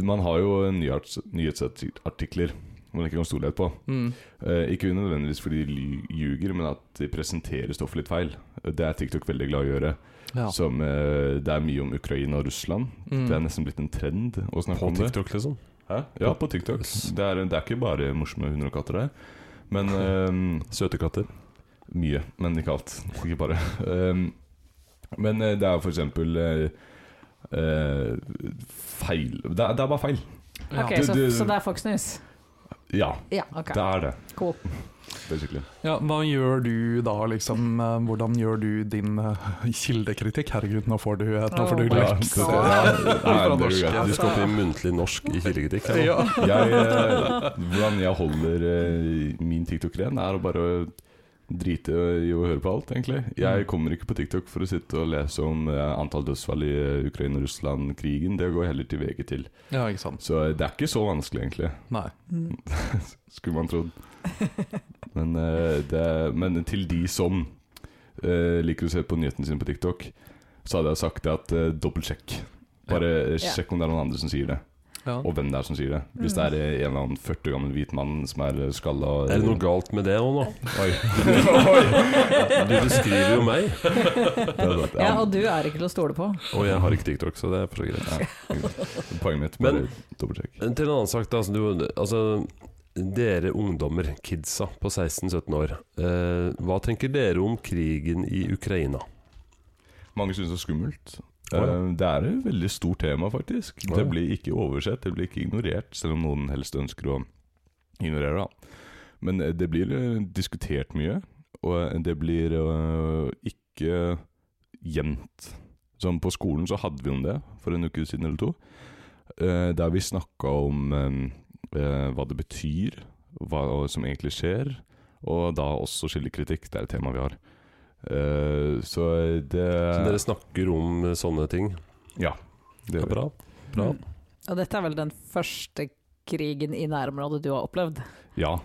Speaker 4: Man har jo nyhets, nyhetsartikler man ikke kan stole helt på.
Speaker 3: Mm.
Speaker 4: Eh, Ikke nødvendigvis fordi de ly- ljuger, men at de presenterer stoffet litt feil. Det er TikTok veldig glad i å gjøre.
Speaker 3: Ja.
Speaker 4: Som, eh, det er mye om Ukraina og Russland.
Speaker 3: Mm.
Speaker 4: Det er nesten blitt en trend å snakke
Speaker 1: På
Speaker 4: om det.
Speaker 1: TikTok, liksom.
Speaker 4: Hæ? Ja, på TikTok. Det er, det er ikke bare morsomme hunder og katter der. Men ehm,
Speaker 1: Søte katter.
Speaker 4: mye, men ikke alt. Ikke bare. Ehm, men eh, det er for eksempel eh, eh, feil det er, det er bare feil.
Speaker 3: Ja.
Speaker 2: Ok,
Speaker 4: Du-
Speaker 2: Så,
Speaker 4: du-
Speaker 2: så det er Fox News.
Speaker 4: Ja,
Speaker 2: Ja, ok.
Speaker 4: det er det,
Speaker 2: Cool.
Speaker 4: basically.
Speaker 3: Ja, hva gjør du da, liksom? eh, Hvordan gjør du din eh, kildekritikk? Herregud, nå får du et nå får du
Speaker 2: Åh,
Speaker 4: Ja,
Speaker 3: leks.
Speaker 4: det-
Speaker 2: Ja.
Speaker 4: Nei, det går
Speaker 3: norsk,
Speaker 4: greit.
Speaker 3: ja.
Speaker 1: Du skal opp i muntlig norsk i kildekritikk. her nå.
Speaker 3: Ja.
Speaker 4: jeg, eh, hvordan jeg holder eh, min TikTok ren, er å bare drite i å høre på alt, egentlig. Jeg kommer ikke på TikTok for å sitte og lese om eh, antall dødsfall i eh, Ukraina-Russland-krigen. Det går heller til VG til.
Speaker 3: ja, ikke sant.
Speaker 4: Så eh, det er ikke så vanskelig, egentlig.
Speaker 3: Nei.
Speaker 2: Mm.
Speaker 4: Skulle man trodd. Men, eh, det, men til de som eh, liker å se på nyhetene sine på TikTok, så hadde jeg sagt at uh, dobbeltsjekk. Bare eh,
Speaker 2: Ja.
Speaker 4: sjekk om det er noen andre som sier det.
Speaker 3: Ja.
Speaker 4: Og hvem det er som sier det. Hvis det er en eller annen 40 år gammel hvit mann som er skalla og-
Speaker 1: Er det noe galt med det òg nå?
Speaker 4: Oi. Oi.
Speaker 1: Du beskriver jo meg,
Speaker 4: Det er sant,
Speaker 2: Ja,
Speaker 4: ja.
Speaker 2: og du er ikke til å stole på.
Speaker 1: og jeg har ikke TikTok, så det er for så greit.
Speaker 4: Poenget mitt bare
Speaker 1: Men-
Speaker 4: dobbeltsjekk.
Speaker 1: Til en annen sak, da. Altså, du, altså, dere ungdommer, kidsa på 16-17 år. Eh, hva tenker dere om krigen i Ukraina?
Speaker 4: Mange syns det er skummelt.
Speaker 1: Å, ja.
Speaker 4: Eh, Det er et veldig stort tema, faktisk.
Speaker 1: Å, ja.
Speaker 4: Det blir ikke oversett, det blir ikke ignorert, selv om noen helst ønsker å ignorere det. Men eh, det blir eh, diskutert mye, og det blir eh, ikke gjemt. Som på skolen så hadde vi om det for en uke siden eller to. eh, Der vi snakka om eh, eh, hva det betyr, hva som egentlig skjer, og da også skillekritikk. Det er et tema vi har. Eh, Så det
Speaker 1: Så dere snakker om eh, sånne ting.
Speaker 4: Ja.
Speaker 1: Det
Speaker 4: Det
Speaker 1: er bra.
Speaker 2: Mm. Og dette er vel den første krigen i nærområdet du har opplevd,
Speaker 4: Ja,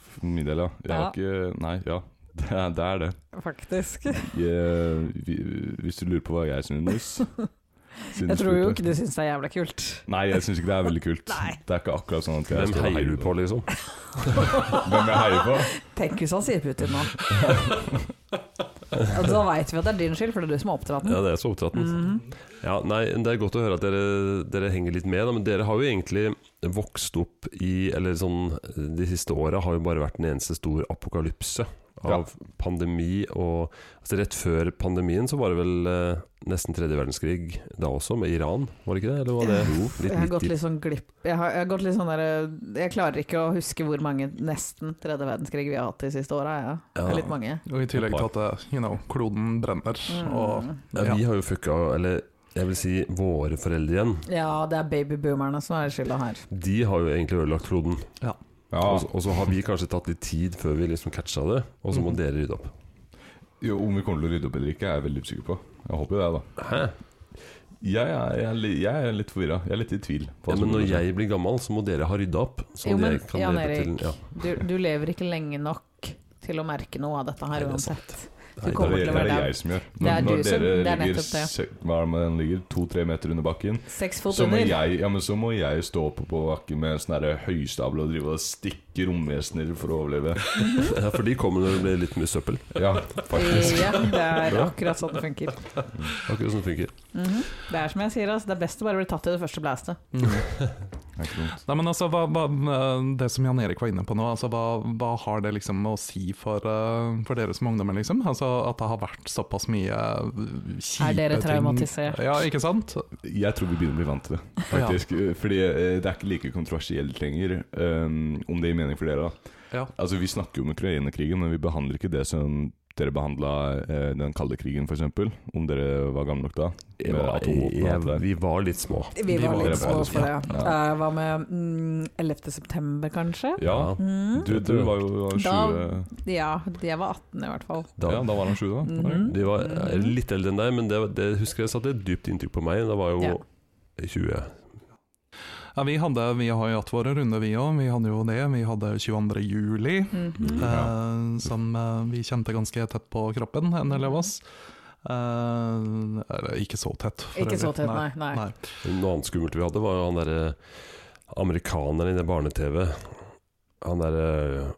Speaker 4: for min del, ja. Jeg
Speaker 2: Ja.
Speaker 4: har ikke Nei, ja. Det er det. Er det.
Speaker 2: faktisk.
Speaker 4: Jeg, vi- hvis du lurer på hva jeg synes siden
Speaker 2: Jeg
Speaker 4: du
Speaker 2: tror jo
Speaker 4: spurte.
Speaker 2: ikke du syns det er jævla kult.
Speaker 4: Nei, jeg syns ikke det er veldig kult.
Speaker 2: Nei.
Speaker 4: Det er ikke akkurat sånn at jeg
Speaker 1: Hvem
Speaker 4: står og
Speaker 1: heier du på, liksom?
Speaker 4: Hvem jeg heier på?
Speaker 2: Tenk hvis han sier Putin nå. Og da veit vi at det er din skyld, for det er du som har oppdratt
Speaker 1: Ja,
Speaker 2: den.
Speaker 1: det er så opptatt.
Speaker 2: Mhm.
Speaker 1: Ja, nei, det er godt å høre at dere, dere henger litt med, da, men dere har jo egentlig vokst opp i Eller sånn De siste åra har jo bare vært en eneste stor apokalypse av pandemi og altså Rett før pandemien så var det vel eh, nesten tredje verdenskrig da også, med Iran, var det ikke det? Eller var det
Speaker 2: Jeg har gått
Speaker 1: midt i-
Speaker 2: litt sånn glipp Jeg, har, jeg, har gått litt sånn der, jeg klarer ikke å huske hvor mange nesten tredje verdenskrig vi har hatt de siste åra. Ja. Det
Speaker 1: Ja.
Speaker 2: er litt mange.
Speaker 3: Og i tillegg til at eh, you know, kloden brenner. Og,
Speaker 2: Mm.
Speaker 1: ja, Vi har jo fucka Eller jeg vil si våre foreldre igjen.
Speaker 2: Ja, det er babyboomerne som er skylda her.
Speaker 1: De har jo egentlig ødelagt kloden. Og så-
Speaker 4: Ja,
Speaker 1: Og så har vi kanskje tatt litt tid før vi liksom catcha det, og så må
Speaker 3: Mhm.
Speaker 1: dere rydde opp.
Speaker 4: jo, Om vi kommer til å rydde opp eller ikke, er jeg veldig usikker på. Jeg håper jo det, da.
Speaker 1: Hæ?
Speaker 4: Jeg er, jeg er, li- jeg er litt forvirra. Jeg er litt i tvil. på hva
Speaker 1: Ja,
Speaker 4: som
Speaker 1: men når
Speaker 4: kommer til å skje.
Speaker 1: jeg blir gammel, så må dere ha rydda opp. Sånn
Speaker 2: Jo,
Speaker 1: at
Speaker 2: men
Speaker 1: jeg kan
Speaker 2: Jan
Speaker 1: leve
Speaker 2: Erik,
Speaker 1: til- ja.
Speaker 2: du, du lever ikke lenge nok til å merke noe av dette
Speaker 1: Nei,
Speaker 2: her
Speaker 1: det er
Speaker 2: uansett.
Speaker 1: Nei,
Speaker 4: Det er
Speaker 2: kommer
Speaker 4: det,
Speaker 1: det-
Speaker 2: til å
Speaker 4: det, er
Speaker 2: være
Speaker 4: det
Speaker 2: der.
Speaker 4: jeg som gjør.
Speaker 2: Det er du som- det er
Speaker 4: ligger
Speaker 2: nettopp det.
Speaker 4: se- Hva er det med den ligger? To-tre meter under bakken,
Speaker 2: Seks fot
Speaker 4: så må,
Speaker 2: under.
Speaker 4: jeg, ja, men så må jeg stå oppe på bakken med sånn her høystabel og drive og stikke romvesener for å overleve.
Speaker 1: Ja, for de kommer når det blir litt mye søppel.
Speaker 4: Ja, faktisk.
Speaker 2: Ja, det er
Speaker 1: Bra.
Speaker 2: akkurat sånn det funker.
Speaker 1: Akkurat sånn det funker.
Speaker 2: Mhm. Det er som jeg sier, altså, det er best å bare bli tatt i det første blæstet.
Speaker 3: Mm.
Speaker 4: Det er ikke dumt.
Speaker 3: Nei, men altså, hva, hva, eh, Det som Jan Erik var inne på nå, altså, hva, hva har det liksom å si for, eh, for dere som ungdommer? liksom? Altså, At det har vært såpass mye eh, kjipe
Speaker 2: Er dere
Speaker 3: ting.
Speaker 2: traumatisert?
Speaker 3: Ja, ikke sant?
Speaker 4: Jeg tror vi begynner å bli vant til det, faktisk. Fordi eh, det er ikke like kontroversielt lenger, um, om det gir mening for dere. da
Speaker 3: Ja.
Speaker 4: Altså Vi snakker jo om Ukraina-krigen, men vi behandler ikke det som dere behandla eh, den kalde krigen, f.eks. Om dere var gamle nok da.
Speaker 1: Jeg
Speaker 4: Med
Speaker 1: var,
Speaker 4: atomvåpen og alt det der.
Speaker 1: jeg, vi var litt små.
Speaker 2: Vi var litt
Speaker 4: dere var
Speaker 2: små
Speaker 4: litt
Speaker 2: for det.
Speaker 4: små.
Speaker 2: Eh, Hva med mm, 11. september, kanskje?
Speaker 4: Ja,
Speaker 2: Mhm.
Speaker 4: du, du var jo 20
Speaker 2: Da- Ja, jeg var 18 i hvert fall.
Speaker 1: Da,
Speaker 4: Ja, da var han 20, da.
Speaker 2: Mhm.
Speaker 1: De var jeg er litt eldre enn deg, men det, det husker jeg satte et dypt inntrykk på meg. Da var jeg jo
Speaker 2: Ja.
Speaker 1: 20.
Speaker 3: Ja, vi, hadde, vi har jo hatt våre runder, vi òg. Vi hadde jo det. Vi hadde 22. juli,
Speaker 2: Mhm.
Speaker 3: eh, som eh, vi kjente ganske tett på kroppen, en del av oss. Eh, eller ikke så tett. for
Speaker 2: Ikke så
Speaker 3: øvrig.
Speaker 2: tett, nei. nei.
Speaker 3: Nei.
Speaker 1: Noe annet skummelt vi hadde, var jo han derre amerikaneren i det barne-TV. Han derre eh,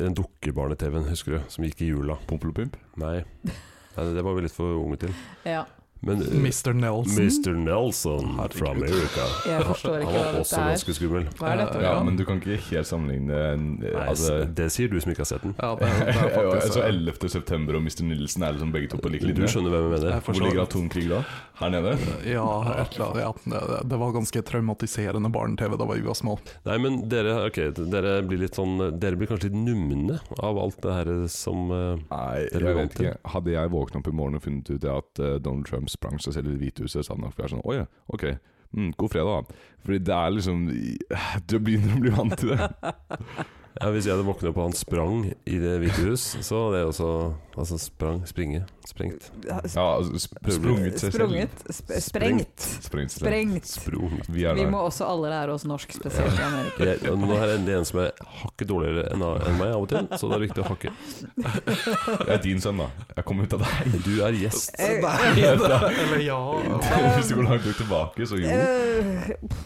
Speaker 1: Den dukkebarne-TV-en, husker du, som gikk i jula.
Speaker 4: Pompel og pimp.
Speaker 1: Nei. Nei, det var vi litt for unge til.
Speaker 2: Ja.
Speaker 1: Men eh,
Speaker 3: Mr. Nelson.
Speaker 1: Mr. Nelson fra America
Speaker 2: Jeg forstår
Speaker 1: Han
Speaker 2: ikke hva
Speaker 1: var også
Speaker 2: dette er.
Speaker 1: ganske skummel.
Speaker 2: Hva er dette?
Speaker 4: Ja, men du kan ikke helt sammenligne eh,
Speaker 1: Nei,
Speaker 4: altså,
Speaker 1: s- det sier du som ikke har sett den.
Speaker 3: Ja, det, er- det er
Speaker 4: ja,
Speaker 3: faktisk
Speaker 4: altså 11. september og Mr. Nilsen er liksom begge to på
Speaker 1: Du
Speaker 4: like linje.
Speaker 1: skjønner hvem jeg mener.
Speaker 3: Jeg
Speaker 4: Hvor
Speaker 3: forstår.
Speaker 4: ligger atomkrig da? Her nede?
Speaker 3: Ja, et eller annet, ja, det- det var ganske traumatiserende barne-TV da vi var små.
Speaker 1: Nei, men dere, ok, dere blir litt sånn Dere blir kanskje litt numne av alt det her som eh,
Speaker 4: Nei,
Speaker 1: er
Speaker 4: jeg
Speaker 1: vant
Speaker 4: vet
Speaker 1: til.
Speaker 4: ikke. Hadde jeg våknet opp i morgen og funnet ut det at eh, Donald Trump sprang seg selv i Det hvite huset, så hadde jeg nok vært sånn Å ja, ok. Mm, god fredag, da. Fordi det er liksom Du begynner å bli vant til det.
Speaker 1: ja, Hvis jeg hadde våknet opp og han sprang i Det hvite hus, så hadde jeg også Altså sprang, springe, sprengt.
Speaker 4: Ja, altså, sp- sprunget seg selv.
Speaker 2: Sprunget. Sp sprengt.
Speaker 4: Sprengt seg selv.
Speaker 2: Sprengt.
Speaker 1: Sprung.
Speaker 4: Vi er
Speaker 2: Vi
Speaker 4: der.
Speaker 2: må også alle lære oss norsk, spesielt i Amerika.
Speaker 1: Jeg, og nå er det endelig en som er hakket dårligere enn enn meg av og til, så det er viktig å hakke.
Speaker 4: Jeg er din sønn, da. Jeg kommer ut av deg.
Speaker 1: Du er gjest.
Speaker 2: Eh,
Speaker 3: Eller ja
Speaker 4: Hvis du går langt nok tilbake, så jo.
Speaker 2: Øh,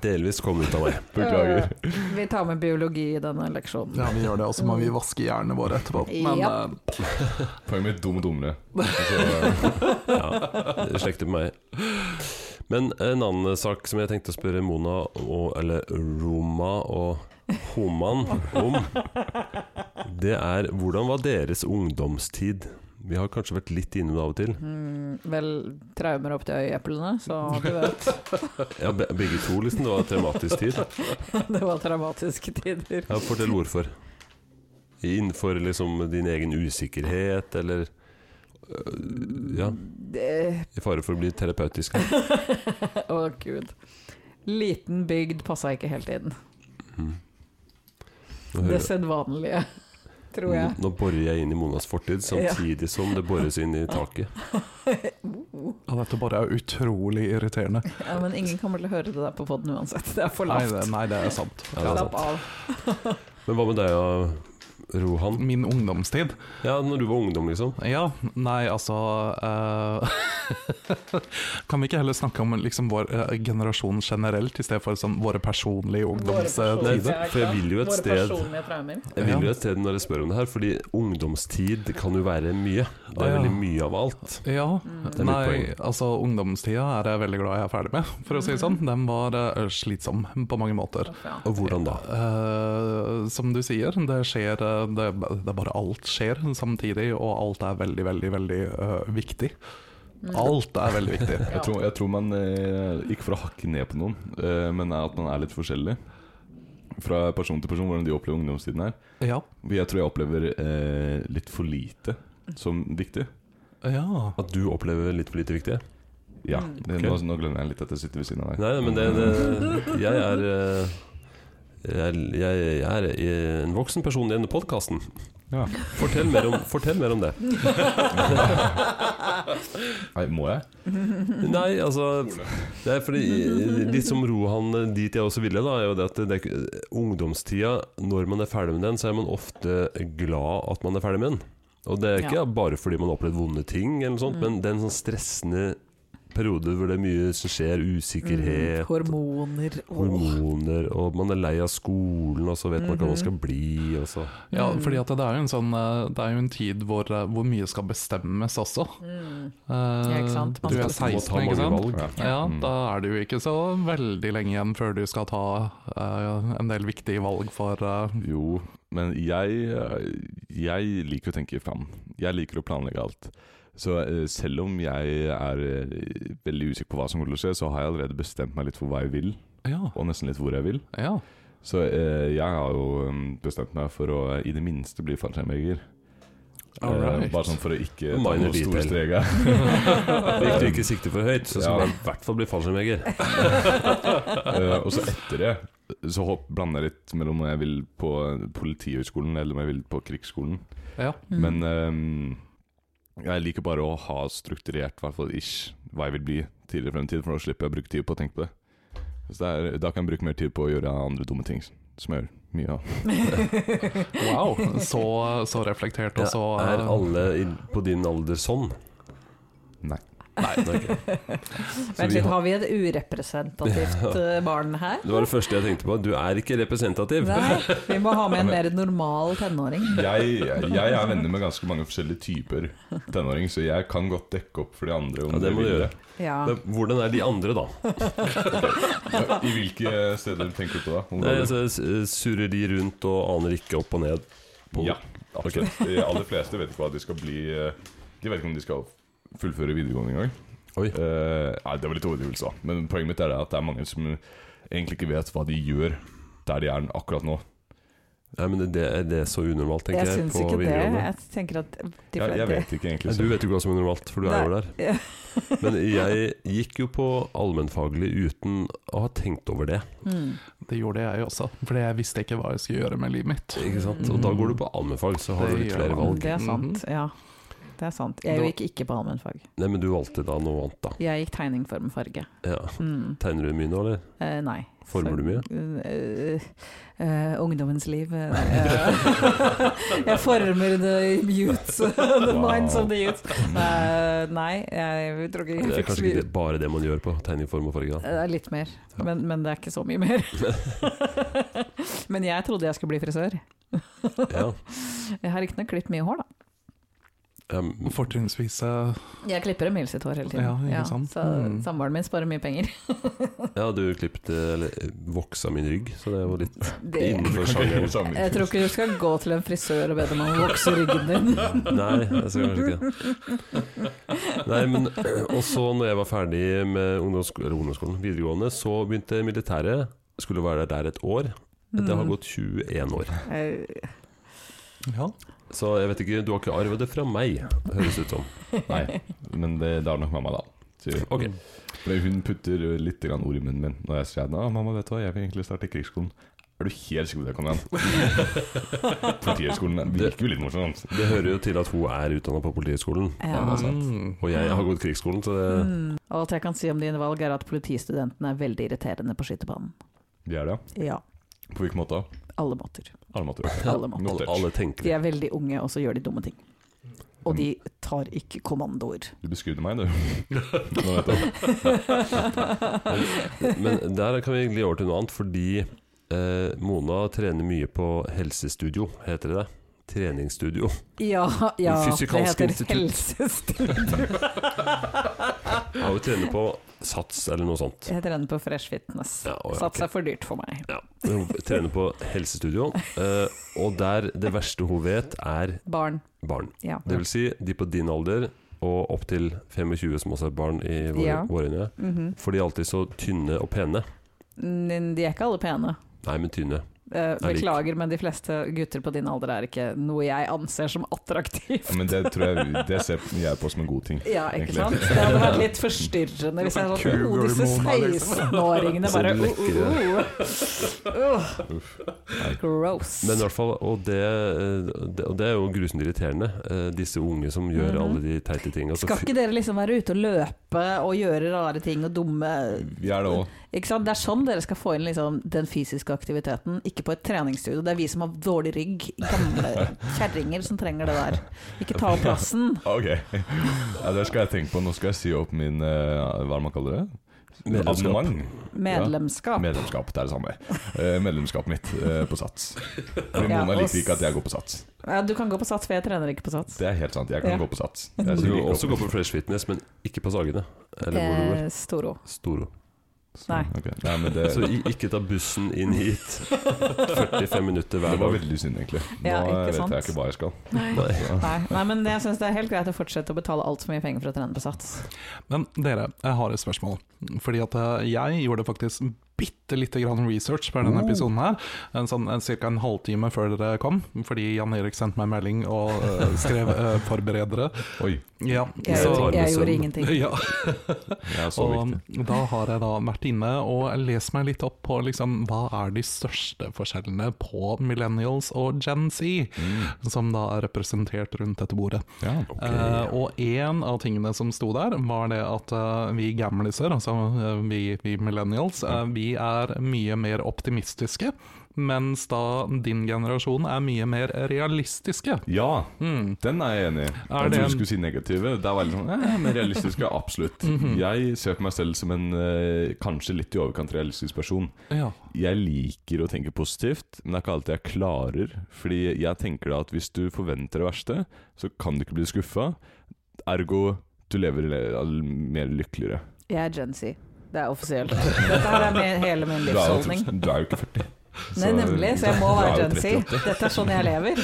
Speaker 1: Delvis kom ut av meg.
Speaker 4: Beklager.
Speaker 2: øh, Vi tar med biologi i denne leksjonen.
Speaker 3: Ja, vi gjør det, og så må vi vaske hjernene våre etterpå. Men
Speaker 2: Ja.
Speaker 3: eh,
Speaker 4: Poenget mitt dum og dummere. Altså,
Speaker 1: Ja, det slekter på meg. Men en annen sak som jeg tenkte å spørre Mona og, eller Roma og Homan om, det er hvordan var deres ungdomstid? Vi har kanskje vært litt inne det av og til.
Speaker 2: Mm, vel, traumer opp til øyeeplene, så du vet.
Speaker 1: Ja, be- begge to, liksom. Det var traumatisk tid.
Speaker 2: Det var traumatiske tider.
Speaker 1: Ja, fortell hvorfor. Innenfor liksom din egen usikkerhet, eller øh, Ja,
Speaker 2: Det-
Speaker 1: i fare for å bli terapeutisk. her.
Speaker 2: Å, gud. Liten bygd passa ikke helt inn.
Speaker 1: Mm. Nå hører-
Speaker 2: Det sedvanlige, tror jeg.
Speaker 1: Nå borer jeg inn i Monas fortid, samtidig som det bores inn i taket.
Speaker 3: ja, dette bare er utrolig irriterende.
Speaker 1: Mm.
Speaker 2: Ja, men ingen kommer til å høre det der på poden uansett. Det er for
Speaker 3: Nei
Speaker 2: lavt.
Speaker 3: det, nei, det er sant.
Speaker 1: Ja, det er
Speaker 2: Slapp
Speaker 1: sant.
Speaker 2: av.
Speaker 1: Men hva med deg, ja, Rohan?
Speaker 3: Min ungdomstid?
Speaker 1: Ja, når du var ungdom, liksom.
Speaker 3: Ja, nei, altså eh, Kan vi ikke heller snakke om liksom, vår eh, generasjon generelt, i stedet for sånn, våre personlige
Speaker 1: Nei,
Speaker 3: ungdomstider?
Speaker 1: for jeg vil jo et
Speaker 2: Våre
Speaker 1: sted
Speaker 2: personlige traumer.
Speaker 1: Jeg vil jo et sted når jeg spør om det her, fordi ungdomstid kan jo være mye. Det er
Speaker 3: Ja.
Speaker 1: veldig mye av alt.
Speaker 3: Ja.
Speaker 1: Mm. er mitt
Speaker 3: Nei, altså ungdomstida er jeg veldig glad jeg er ferdig med, for å si
Speaker 1: Mm.
Speaker 3: det sånn. Den var eh, slitsom på mange måter.
Speaker 2: Å, faen.
Speaker 1: Og hvordan da?
Speaker 3: Eh, som du sier, det skjer eh, det, det er bare alt skjer samtidig, og alt er veldig, veldig, veldig eh, viktig.
Speaker 1: Mm.
Speaker 3: Alt er veldig viktig.
Speaker 4: Jeg tror, jeg tror man, eh, ikke for å hakke ned på noen, eh, men er at man er litt forskjellig. Fra person til person, hvordan de opplever ungdomstiden her.
Speaker 3: Ja.
Speaker 4: For Jeg tror jeg opplever eh, litt for lite som viktig.
Speaker 3: ja.
Speaker 1: At du opplever litt for lite viktig?
Speaker 4: Ja,
Speaker 2: Mm.
Speaker 4: det- nå, nå glemmer jeg litt at jeg sitter ved siden av deg.
Speaker 1: Nei, men det, det Jeg er eh, jeg, jeg, jeg er en voksen person i denne podkasten.
Speaker 4: Ja.
Speaker 1: Fortell, mer om- fortell mer om det.
Speaker 4: Nei, må jeg?
Speaker 1: Nei, altså Det er fordi Litt som Rohan eh, dit jeg også ville, da, er jo det at det er, ikke- ungdomstida, når man er ferdig med den, så er man ofte glad at man er ferdig med den. Og det er ikke
Speaker 2: Ja.
Speaker 1: bare fordi man har opplevd vonde ting, eller noe sånt, men det er en sånn stressende periode hvor det er mye som skjer, usikkerhet
Speaker 2: Mm, Hormoner og
Speaker 1: Hormoner, og man er lei av skolen, og så vet man ikke hva man skal bli. Og så.
Speaker 3: Ja,
Speaker 2: Mm.
Speaker 3: fordi at det er jo en sånn eh, Det er jo en tid hvor, eh, hvor mye skal bestemmes også.
Speaker 2: Mm.
Speaker 3: Eh,
Speaker 2: Ja, ikke sant? Man
Speaker 3: Du er
Speaker 2: skal-
Speaker 1: Du må ta
Speaker 3: 16, ikke
Speaker 1: mange
Speaker 3: sant?
Speaker 1: valg.
Speaker 3: Ja, da er det jo ikke så veldig lenge igjen før du skal ta eh, en del viktige valg for eh,
Speaker 4: Jo, men jeg, eh, jeg liker å tenke fram. Jeg liker å planlegge alt. Så eh, selv om jeg er eh, veldig usikker på hva som kommer til å skje, så har jeg allerede bestemt meg litt for hva jeg vil,
Speaker 3: Ja.
Speaker 4: og nesten litt hvor jeg vil.
Speaker 3: ja.
Speaker 4: Så eh, jeg har jo mm, bestemt meg for å i det minste bli fallskjermjeger.
Speaker 3: All
Speaker 4: Eh,
Speaker 3: right.
Speaker 4: bare sånn for å ikke ta
Speaker 1: Minor
Speaker 4: noen store
Speaker 1: detail.
Speaker 4: streker.
Speaker 1: Hvis du ikke sikter for høyt, så skal
Speaker 4: Ja.
Speaker 1: man i hvert fall bli fallskjermjeger.
Speaker 4: Eh, og så etter det så hopp, blander jeg litt mellom om jeg vil på eh, Politihøgskolen eller om jeg vil på Krigsskolen.
Speaker 3: ja.
Speaker 2: Mm.
Speaker 4: Men eh, jeg liker bare å ha strukturert, i hvert fall ish, hva jeg vil bli tidligere frem i tid, for da slipper jeg å bruke tid på å tenke på det. Så det er, da kan jeg bruke mer tid på å gjøre andre dumme ting, som jeg gjør mye av.
Speaker 3: Wow. Så, så reflektert og så
Speaker 1: Er
Speaker 3: eh,
Speaker 1: alle i, på din alder sånn?
Speaker 4: Nei.
Speaker 1: Nei, det er ikke det.
Speaker 2: Vent
Speaker 4: Så vi
Speaker 2: litt,
Speaker 4: har-
Speaker 2: har vi et urepresentativt eh, barn her?
Speaker 1: Det var det første jeg tenkte på. Du er ikke representativ.
Speaker 2: Nei, vi må ha med en mer normal tenåring.
Speaker 4: jeg, jeg er venner med ganske mange forskjellige typer tenåring, så jeg kan godt dekke opp for de andre. om
Speaker 1: Ja, det må du
Speaker 4: vil.
Speaker 1: gjøre.
Speaker 2: Ja.
Speaker 1: Men hvordan er de andre, da?
Speaker 4: Ja, I hvilke steder tenker du på da?
Speaker 1: Nei,
Speaker 4: Områder?
Speaker 1: altså, s- surrer de rundt og aner ikke opp og ned? på-
Speaker 4: Ja, absolutt. De aller fleste vet ikke hva de skal bli eh, De vet ikke om de skal fullføre videregående engang.
Speaker 1: Oi.
Speaker 4: Eh, nei, det var litt overdrivelse, da. Men poenget mitt er at det er mange som egentlig ikke vet hva de gjør der de er akkurat nå.
Speaker 1: Nei, men det, det er det så unormalt, tenker
Speaker 2: Jeg
Speaker 1: jeg,
Speaker 2: syns
Speaker 1: på
Speaker 2: ikke det.
Speaker 1: videregående?
Speaker 2: Jeg tenker at de
Speaker 4: Jeg, jeg
Speaker 2: fleste
Speaker 4: vet ikke egentlig
Speaker 1: Nei, du vet jo ikke hva som er normalt, for du er jo der.
Speaker 2: Ja.
Speaker 1: Men jeg gikk jo på allmennfaglig uten å ha tenkt over det.
Speaker 2: Mm.
Speaker 3: Det gjorde jeg også, fordi jeg visste ikke hva jeg skulle gjøre med livet mitt.
Speaker 1: Ikke sant? Og da går du på allmennfag, så har
Speaker 3: Det
Speaker 1: du litt
Speaker 3: gjør
Speaker 1: flere
Speaker 3: man.
Speaker 1: valg.
Speaker 2: Det er sant.
Speaker 1: Mhm.
Speaker 2: Ja. Det er sant. Jeg gikk ikke på allmennfag.
Speaker 1: Nei, men du valgte da noe annet, da.
Speaker 2: Jeg gikk tegning, form, farge.
Speaker 1: Ja.
Speaker 2: Mm.
Speaker 1: Tegner du mye nå, eller?
Speaker 2: Eh, nei.
Speaker 1: Former du mye?
Speaker 2: Eh, eh, ungdommens liv eh, nei, eh, Jeg former the youths. the
Speaker 4: Wow.
Speaker 2: minds of the youths. Eh, nei, jeg tror ikke
Speaker 1: Det
Speaker 2: jeg
Speaker 1: er
Speaker 2: fikk så
Speaker 1: kanskje ikke
Speaker 2: mye
Speaker 1: det, bare det man gjør på tegning, form og farge.
Speaker 2: Eh,
Speaker 1: Da.
Speaker 2: Litt mer, men, men det er ikke så mye mer. men jeg trodde jeg skulle bli frisør.
Speaker 1: Ja.
Speaker 2: Jeg har riktignok klippet mye hår, da.
Speaker 1: Ja, men-
Speaker 3: Fortrinnsvis eh,
Speaker 2: Jeg klipper Emil sitt hår hele tiden.
Speaker 3: Ja, ikke sant?
Speaker 2: så
Speaker 3: Mm.
Speaker 2: samboeren min sparer mye penger.
Speaker 1: ja, du klippet eh, eller voksa min rygg, så det var litt
Speaker 2: Det,
Speaker 1: innenfor sjangeren.
Speaker 2: jeg tror ikke du skal gå til en frisør og be dem om å vokse ryggen din.
Speaker 1: Nei, jeg skal kanskje ikke Nei, men Og så når jeg var ferdig med ungdomsskolen, eller ungdomsskolen videregående, så begynte militæret. Skulle være der et år. Det
Speaker 2: Mm.
Speaker 1: har gått 21 år.
Speaker 2: Eh,
Speaker 3: ja.
Speaker 1: Så jeg vet ikke, du har ikke arvet det fra meg, høres det ut som.
Speaker 4: Nei, men det, det har nok mamma, da. Sier hun.
Speaker 1: Ok,
Speaker 4: For Hun putter litt grann ord i munnen min når jeg sier at ah, mamma, vet du hva, jeg vil egentlig starte i krigsskolen. Er du helt sikker på det, Konrad? Politihøgskolen virker jo litt morsomt.
Speaker 1: Det hører jo til at hun er utdanna på Politihøgskolen.
Speaker 2: Ja.
Speaker 4: det er sant.
Speaker 3: Mm.
Speaker 1: Og jeg har gått krigsskolen, så det
Speaker 2: Mm. Og alt jeg kan si om dine valg, er at politistudentene er veldig irriterende på skytebanen.
Speaker 4: De er det,
Speaker 2: Ja.
Speaker 4: ja. På hvilken måte?
Speaker 2: Alle måter.
Speaker 4: Armatur.
Speaker 2: Alle måter.
Speaker 4: Mm.
Speaker 1: alle, alle tenker
Speaker 2: De er veldig unge, og så gjør de dumme ting. Og de tar ikke kommandoer.
Speaker 4: Du beskudde meg, du. Nå vet jeg.
Speaker 1: Men der kan vi egentlig over til noe annet, fordi eh, Mona trener mye på helsestudio, heter det det? Treningsstudio.
Speaker 2: Ja, ja det
Speaker 1: Fysikalsk
Speaker 2: heter
Speaker 1: institutt.
Speaker 2: helsestudio.
Speaker 1: Ja, hun trener på sats eller noe sånt.
Speaker 2: Jeg trener på Fresh Fitness.
Speaker 1: Ja, å, ja,
Speaker 2: Sats
Speaker 1: ok.
Speaker 2: er for dyrt for meg.
Speaker 1: Ja, hun trener på helsestudio, eh, og der det verste hun vet, er
Speaker 2: Barn.
Speaker 1: barn.
Speaker 2: Ja.
Speaker 1: Det vil si de på din alder og opptil 25 som også er barn i våre,
Speaker 2: Ja.
Speaker 1: våre øyne.
Speaker 2: Mhm.
Speaker 1: For de er alltid så tynne og pene.
Speaker 2: Mm, De er ikke alle pene.
Speaker 1: Nei, men tynne.
Speaker 2: Eh,
Speaker 1: lik.
Speaker 2: Beklager, men de fleste gutter på din alder er ikke noe jeg anser som attraktivt.
Speaker 4: Men det tror jeg Det ser jeg på som en god ting.
Speaker 2: Ja, ikke
Speaker 4: Egentlig.
Speaker 2: sant? Det hadde vært litt forstyrrende hvis jeg hadde sånn
Speaker 3: Cougar
Speaker 2: oh, Disse
Speaker 3: Mona, liksom.
Speaker 2: 16-åringene
Speaker 1: Ser
Speaker 2: bare
Speaker 1: du lekre.
Speaker 2: oh, oh, oh. Uh, Gross.
Speaker 1: Men i hvert fall, og det, eh, det, og det er jo grusomt irriterende, eh, disse unge som gjør
Speaker 2: Mhm.
Speaker 1: alle de teite tinga. Så
Speaker 2: Skal
Speaker 1: fy-
Speaker 2: ikke dere liksom være ute og løpe og gjøre rare ting og dumme
Speaker 4: Vi er det òg.
Speaker 2: Ikke sant? Det er sånn dere skal få inn liksom den fysiske aktiviteten, ikke på et treningsstudio. Det er vi som har dårlig rygg, gamle kjerringer som trenger det der. Ikke ta opp plassen.
Speaker 4: Ah, Ok. Ja, det skal jeg tenke på. Nå skal jeg si opp min eh, Hva er det man kaller det?
Speaker 1: Medlemskap.
Speaker 4: Abonnement.
Speaker 2: Medlemskap.
Speaker 4: Medlemskap. Det er det samme. Eh, medlemskapet mitt eh, på Sats. Fordi
Speaker 2: Ja,
Speaker 4: Mona
Speaker 2: og
Speaker 4: liker
Speaker 2: s-
Speaker 4: ikke at jeg går på Sats.
Speaker 2: Ja, Du kan gå på sats, for jeg trener ikke på sats.
Speaker 4: Det er helt sant. Jeg kan
Speaker 2: Ja.
Speaker 4: gå på Sats.
Speaker 1: Jeg
Speaker 4: Jeg
Speaker 1: skal
Speaker 4: liker
Speaker 1: også
Speaker 4: å-
Speaker 1: gå på Fresh Fitness, men ikke på Sagene. Eller hvor du går.
Speaker 2: Eh, Storo.
Speaker 1: Storo.
Speaker 2: Nei.
Speaker 4: Ok. Nei, men det,
Speaker 3: Altså,
Speaker 1: Så i- ikke ta bussen inn hit 45 minutter
Speaker 4: det
Speaker 1: hver
Speaker 4: var
Speaker 1: dag.
Speaker 4: veldig synd, egentlig. Nå eh,
Speaker 2: Ja, ikke
Speaker 4: vet
Speaker 2: sant?
Speaker 4: jeg ikke hva jeg skal.
Speaker 2: Nei.
Speaker 4: Så-
Speaker 2: Nei, nei, men jeg syns det er helt greit å fortsette å betale altfor mye penger for å trene på sats.
Speaker 3: Men dere, jeg har et spørsmål. Fordi at eh, jeg gjorde faktisk bitte lite grann research på denne episoden her. En sånn ca. en halvtime før dere kom, fordi Jan Erik sendte meg en melding og eh, skrev uh, 'forbered dere'.
Speaker 4: Oi,
Speaker 3: Ja,
Speaker 2: Jeg,
Speaker 1: Så tar
Speaker 2: gjorde-
Speaker 1: vi
Speaker 2: jeg
Speaker 1: søvn.
Speaker 2: gjorde ingenting.
Speaker 3: ja.
Speaker 4: det er så
Speaker 3: Og um,
Speaker 4: viktig.
Speaker 3: da har jeg da vært inne og lest meg litt opp på liksom, hva er de største forskjellene på millennials og Gen Z, som da er representert rundt dette bordet.
Speaker 4: Mm. Ja.
Speaker 1: Ok.
Speaker 3: Eh, og en av tingene som sto der, var det at eh, vi gamliser, altså eh, vi, vi millennials, eh, vi vi er mye mer optimistiske, mens da din generasjon er mye mer realistiske.
Speaker 4: Ja,
Speaker 3: Mm.
Speaker 4: den er jeg enig i. Jeg
Speaker 3: det
Speaker 4: trodde
Speaker 3: en-
Speaker 4: du skulle si negative. Det er veldig sånn, eh, men realistiske, absolutt.
Speaker 3: Mhm.
Speaker 4: Jeg ser på meg selv som en eh, kanskje litt i overkant realistisk person.
Speaker 3: Ja.
Speaker 4: Jeg liker å tenke positivt, men det er ikke alltid jeg klarer. Fordi jeg tenker da at hvis du forventer det verste, så kan du ikke bli skuffa. Ergo du lever le- mer lykkeligere.
Speaker 2: Jeg er Gen Z. Det er offisielt. Dette her er min, hele min
Speaker 4: Du er,
Speaker 2: livsholdning.
Speaker 4: jo- du er jo ikke 40.
Speaker 2: Nei,
Speaker 4: så-
Speaker 2: nemlig, så jeg må være
Speaker 4: Du er
Speaker 2: Gen
Speaker 4: jo
Speaker 2: Z. Dette er sånn jeg lever.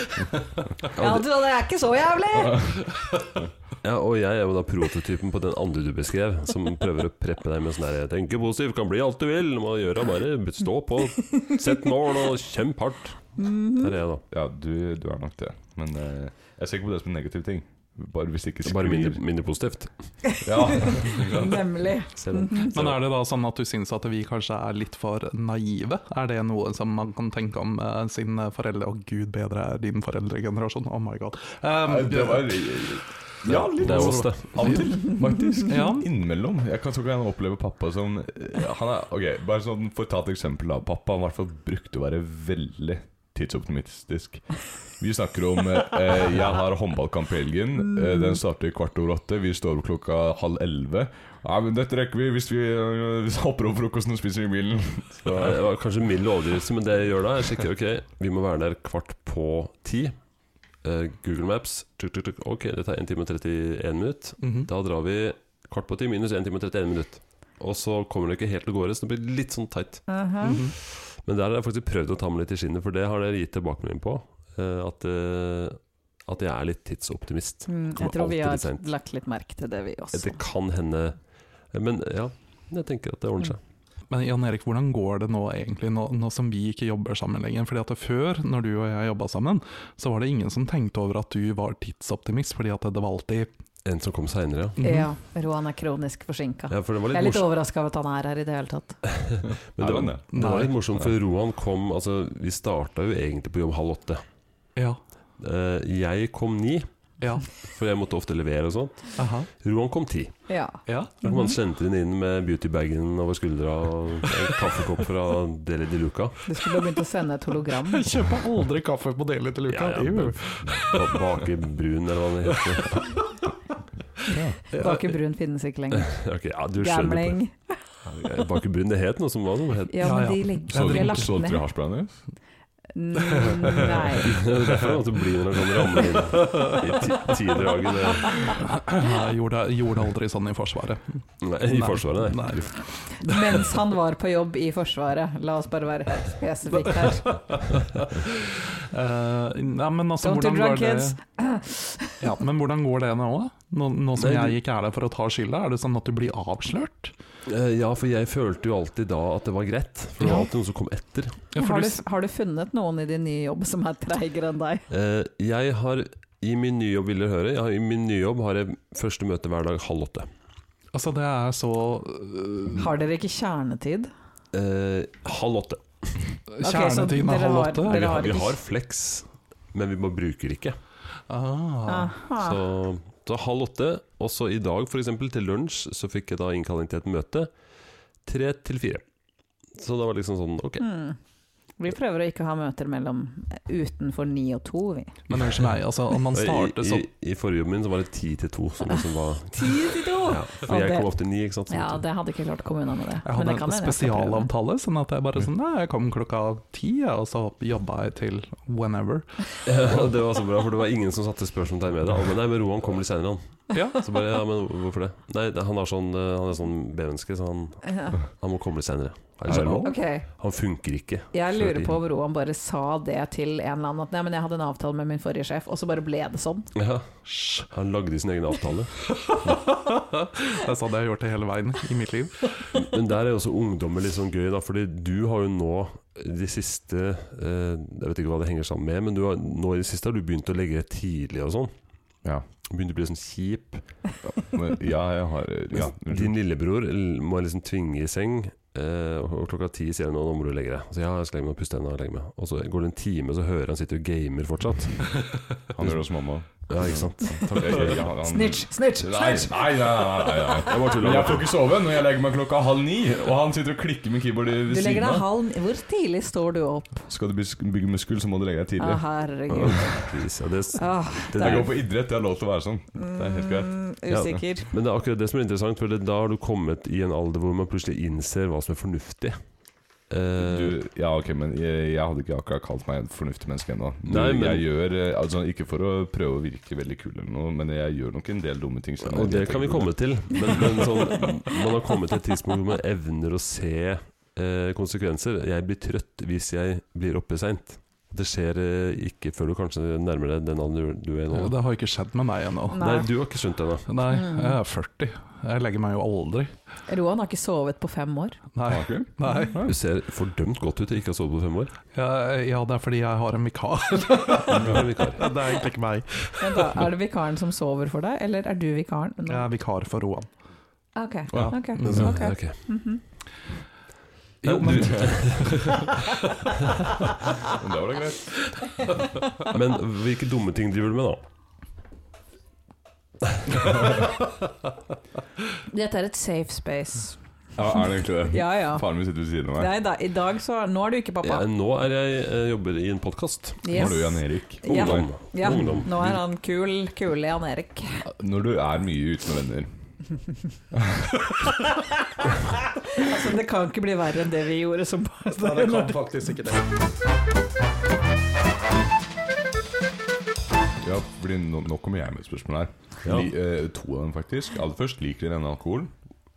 Speaker 2: Ja, du, det er ikke så jævlig!
Speaker 1: Ja, og jeg er jo da prototypen på den andre du beskrev, som prøver å preppe deg med sånn der 'tenke positivt, kan bli alt du vil', må gjøre bare stå på, sett mål og kjemp hardt. Der er jeg, da.
Speaker 4: Ja, du, du er nok det. Men eh, jeg ser ikke på det som en negativ ting. Bare hvis det ikke
Speaker 1: Det er Bare
Speaker 4: sklir-
Speaker 1: mindre, mindre positivt.
Speaker 4: Ja.
Speaker 2: Nemlig.
Speaker 1: Ser den. Ser
Speaker 3: Men
Speaker 1: den.
Speaker 3: er det da sånn at du syns at vi kanskje er litt for naive? Er det noe som man kan tenke om eh, sin foreldre Å gud bedre er din foreldregenerasjon, oh my god. Um,
Speaker 4: Nei, det var Ja, litt
Speaker 1: Det er oss, det.
Speaker 4: Av og til, faktisk.
Speaker 3: Ja.
Speaker 4: Innimellom. Jeg kan så gjerne oppleve pappa som han er, ok, Bare sånn for å ta et eksempel. da Pappa han i hvert fall brukte å være veldig tidsoptimistisk. Vi snakker om eh, Jeg har håndballkamp i helgen. Eh, den starter kvart over åtte. Vi står opp klokka halv elleve. Ja, men dette rekker vi hvis vi eh, hvis vi hopper over frokosten og spiser i bilen. Så,
Speaker 1: Det var kanskje en mild overdrivelse, men det jeg gjør da, jeg sjekker ok, vi må være der kvart på ti. Eh, Google Maps, tuk, tuk, tuk. ok, det tar 1 time og 31 minutt.
Speaker 3: mhm.
Speaker 1: Da drar vi kvart på ti minus 1 time og 31 minutt. Og så kommer det ikke helt til gårde, så det blir litt sånn tight.
Speaker 2: Mhm.
Speaker 3: Mhm.
Speaker 1: Men der har jeg faktisk prøvd å ta meg litt i skinnet, for det har dere gitt tilbakemelding på. eh, At, eh, at jeg er litt tidsoptimist.
Speaker 2: Mm,
Speaker 1: Kommer
Speaker 2: Jeg tror vi
Speaker 1: alltid
Speaker 2: har
Speaker 1: litt sent.
Speaker 2: lagt litt merke til det, vi også.
Speaker 1: Det kan hende Men ja, jeg tenker at det ordner seg.
Speaker 3: Men Jan Erik, hvordan går det nå egentlig, nå, nå som vi ikke jobber sammen lenger? Fordi at det Før, når du og jeg jobba sammen, så var det ingen som tenkte over at du var tidsoptimist, fordi at det var alltid
Speaker 1: En som kom seinere, ja.
Speaker 3: Mhm.
Speaker 2: Ja, Roan er kronisk forsinka.
Speaker 1: ja. For det var
Speaker 2: Jeg er
Speaker 1: litt
Speaker 2: litt
Speaker 1: morsomt.
Speaker 2: overraska over at han er her i det hele tatt.
Speaker 1: Men det var,
Speaker 4: det.
Speaker 1: det var litt
Speaker 3: Nei.
Speaker 1: morsomt, for Rohan kom Altså, vi starta jo egentlig på jobb halv åtte.
Speaker 3: Ja.
Speaker 1: Eh, Jeg kom ni,
Speaker 3: Ja.
Speaker 1: for jeg måtte ofte levere og sånt.
Speaker 3: Aha.
Speaker 1: Rohan kom ti.
Speaker 2: Ja.
Speaker 3: Ja.
Speaker 1: Da kom han sentrende inn med beautybagen over skuldra og en kaffekopp fra Deli de Luca.
Speaker 2: Du skulle begynt å sende et hologram.
Speaker 3: Jeg kjøper aldri kaffe på Deli til uka.
Speaker 1: Ja, ja,
Speaker 3: Ew.
Speaker 1: Ba- Bake brun, eller hva det heter.
Speaker 2: Bake brun finnes ikke lenger.
Speaker 1: Ok, ja, du skjønner på det.
Speaker 2: Gambling.
Speaker 1: Baker brun, det het noe som var noe het.
Speaker 2: Ja,
Speaker 3: Ja, ja.
Speaker 2: men de ligger
Speaker 4: Så
Speaker 2: de er
Speaker 4: dere
Speaker 2: lagt
Speaker 4: så
Speaker 2: ned.
Speaker 4: dere hasjblandet?
Speaker 2: Mm, Nei.
Speaker 1: Det er derfor det måtte bli når han kommer ramlende inn i ti- tidraget det-
Speaker 3: Jeg gjorde, gjorde aldri sånn i Forsvaret.
Speaker 1: Nei, i Forsvaret. Nei.
Speaker 2: Mens han var på jobb i Forsvaret. La oss bare være helt spesifikke her.
Speaker 3: Eh, nei, men altså,
Speaker 2: Don't do
Speaker 3: hvordan
Speaker 2: drug
Speaker 3: går det
Speaker 2: kids.
Speaker 3: ja, Men hvordan går det nå? Nå, nå som
Speaker 1: Nei,
Speaker 3: jeg ikke er der for å ta skylda, er det sånn at du blir avslørt?
Speaker 1: Eh, Ja, for jeg følte jo alltid da at det var greit, for det var
Speaker 3: Ja.
Speaker 1: alltid noen som kom etter.
Speaker 3: Ja, for
Speaker 2: Har
Speaker 3: du,
Speaker 2: du, har du funnet noen i din nye jobb som er treigere enn deg?
Speaker 1: Eh, Jeg har i min nye jobb, vil dere høre, jeg har, i min nye jobb har jeg første møte hver dag halv åtte.
Speaker 3: altså, det er så øh,
Speaker 2: Har dere ikke kjernetid?
Speaker 1: Eh, halv åtte.
Speaker 3: øh,
Speaker 2: så
Speaker 3: Kjernetiden
Speaker 2: dere
Speaker 3: er halv
Speaker 2: har-
Speaker 3: åtte.
Speaker 1: Vi
Speaker 2: dere
Speaker 1: har,
Speaker 2: har
Speaker 1: vi
Speaker 2: ikke-
Speaker 1: har flex, men vi bare bruker ikke.
Speaker 3: Ah.
Speaker 2: Aha.
Speaker 1: Så, så halv åtte. Også i dag, f.eks., til lunsj, så fikk jeg da innkalling til et møte. Tre til fire. Så det var liksom sånn Ok.
Speaker 2: Mm. Vi prøver å ikke ha møter mellom eh, utenfor ni og to, vi.
Speaker 3: Men unnskyld meg, altså, om man starter
Speaker 1: I,
Speaker 3: så
Speaker 1: i, I forrige jobben min så var det ti til to. Som liksom var,
Speaker 2: Ti til to!
Speaker 1: ja, for
Speaker 2: Og
Speaker 1: jeg
Speaker 2: det-
Speaker 1: kom opp til ni, ikke sant.
Speaker 2: Ja, det hadde ikke klart kommunene med det.
Speaker 3: Jeg
Speaker 2: Men
Speaker 3: hadde
Speaker 2: det kan
Speaker 3: en
Speaker 2: hende jeg skal prøve.
Speaker 3: spesialavtale, sånn at jeg bare sånn Nei, jeg kom klokka ti, jeg, og så jobba jeg til whenever.
Speaker 1: Ja, det var så bra, for det var ingen som satte spørsmålstegn ved det. Alle, nei, men Roan kommer litt seinere, han.
Speaker 3: Ja.
Speaker 1: Så bare, ja, men hvorfor det? Nei, det- han, har sånn, eh, han er sånn B-menneske, så han,
Speaker 2: Ja.
Speaker 1: han må komme litt seinere.
Speaker 4: Er det lov?
Speaker 2: Ok,
Speaker 1: Han funker ikke.
Speaker 2: jeg lurer på om Roan bare sa det til en eller annen at nei, men jeg hadde en avtale med min forrige sjef, og så bare ble det sånn.
Speaker 1: Ja, han lagde sin egen avtale.
Speaker 3: Det er sånn jeg har gjort det hele veien i mitt liv.
Speaker 1: Men der er jo også ungdommer litt sånn gøy, da, fordi du har jo nå de siste eh, Jeg vet ikke hva det henger sammen med, men du har, nå i det siste har du begynt å legge deg tidlig og sånn.
Speaker 4: Ja.
Speaker 1: Begynt å bli sånn kjip.
Speaker 4: Men, ja, jeg har ja,
Speaker 1: Mens Din lillebror l- må jeg liksom tvinge i seng, eh, og og klokka ti sier han nå må du legge deg. Så ja, jeg skal legge meg og puste hendene og legge meg. Og så går det en time, så hører han sitter og gamer fortsatt.
Speaker 4: Han gjør det hos mamma.
Speaker 1: Ja, ikke sant.
Speaker 4: Takk. Jeg- jeg- han-
Speaker 2: Snitch, snitch,
Speaker 4: Nei,
Speaker 2: snitch!
Speaker 4: nei, nei, nei, nei. Jeg bare tuller. Jeg får ikke sove når jeg legger meg klokka halv ni, og han sitter og klikker med keyboardet
Speaker 2: Du
Speaker 4: ved
Speaker 2: legger
Speaker 4: siden
Speaker 2: deg
Speaker 4: av.
Speaker 2: halv Hvor tidlig står du opp?
Speaker 4: Skal du bys- bygge muskel, så må du legge deg
Speaker 2: Å,
Speaker 4: tidlig.
Speaker 2: herregud.
Speaker 1: Pris, ja, det,
Speaker 2: Ah,
Speaker 1: det,
Speaker 4: Jeg går på idrett, jeg har lov til å være sånn. Det er helt greit.
Speaker 2: mm, usikker.
Speaker 1: men det er akkurat det som er interessant, for det, da har du kommet i en alder hvor man plutselig innser hva som er fornuftig. Eh,
Speaker 4: Du, ja, ok, men jeg, jeg hadde ikke akkurat kalt meg et fornuftig menneske ennå. Du,
Speaker 1: Nei, men-
Speaker 4: Jeg gjør, eh, altså Ikke for å prøve å virke veldig kul, eller noe, men jeg gjør nok en del dumme ting. selv om
Speaker 1: og
Speaker 4: jeg
Speaker 1: det
Speaker 4: vet
Speaker 1: kan vi
Speaker 4: jeg gjør
Speaker 1: komme til, men, men sånn, man har kommet til et tidspunkt hvor man evner å se eh, konsekvenser. Jeg blir trøtt hvis jeg blir oppe seint. Det skjer eh, ikke før du kanskje nærmer deg den alderen du er i nå.
Speaker 3: Det har ikke skjedd med meg ennå.
Speaker 1: Nei,
Speaker 2: Nei.
Speaker 1: du har ikke skjønt det ennå.
Speaker 3: Nei,
Speaker 2: Mm.
Speaker 3: jeg er 40. Jeg legger meg jo aldri.
Speaker 2: Roan har ikke sovet på fem år.
Speaker 3: Nei.
Speaker 4: det. Ah,
Speaker 3: Nei.
Speaker 4: Ok.
Speaker 1: Du ser fordømt godt ut til ikke å ha sovet på fem år.
Speaker 3: Ja, ja, det er fordi jeg har en vikar.
Speaker 1: Du er vikar.
Speaker 3: Det er egentlig ikke meg.
Speaker 2: Men da, er det vikaren som sover for deg, eller er du vikaren? Nå-
Speaker 3: Jeg er vikar for Roan.
Speaker 2: Ah, Ok.
Speaker 3: Ja.
Speaker 2: ok,
Speaker 3: Mm.
Speaker 4: sånn.
Speaker 2: ok.
Speaker 1: Ok.
Speaker 2: Mhm.
Speaker 3: Jo, men
Speaker 4: Men da var det greit.
Speaker 1: Men hvilke dumme ting driver du med, da?
Speaker 2: Dette er et safe space.
Speaker 4: Ja, er det egentlig det?
Speaker 2: Ja ja.
Speaker 4: Faren min sitter ved siden av meg.
Speaker 2: Nei da, i dag så Nå er du ikke
Speaker 1: Ja,
Speaker 2: pappa.
Speaker 1: nå er jeg, eh, jobber i en podkast.
Speaker 4: Når du, Jan Erik,
Speaker 2: Ja.
Speaker 1: Ungdom.
Speaker 2: Ja,
Speaker 1: Ungdom.
Speaker 2: nå er han kul, kule Jan Erik.
Speaker 4: når du er mye ute med venner
Speaker 2: Altså, det kan ikke bli verre enn det vi gjorde som barn.
Speaker 3: det kan faktisk ikke det.
Speaker 4: Ja, fordi nå, nå kommer jeg med et spørsmål her.
Speaker 1: Ja.
Speaker 4: Li, eh, to av dem, faktisk. Aller først, liker dere denne alkoholen?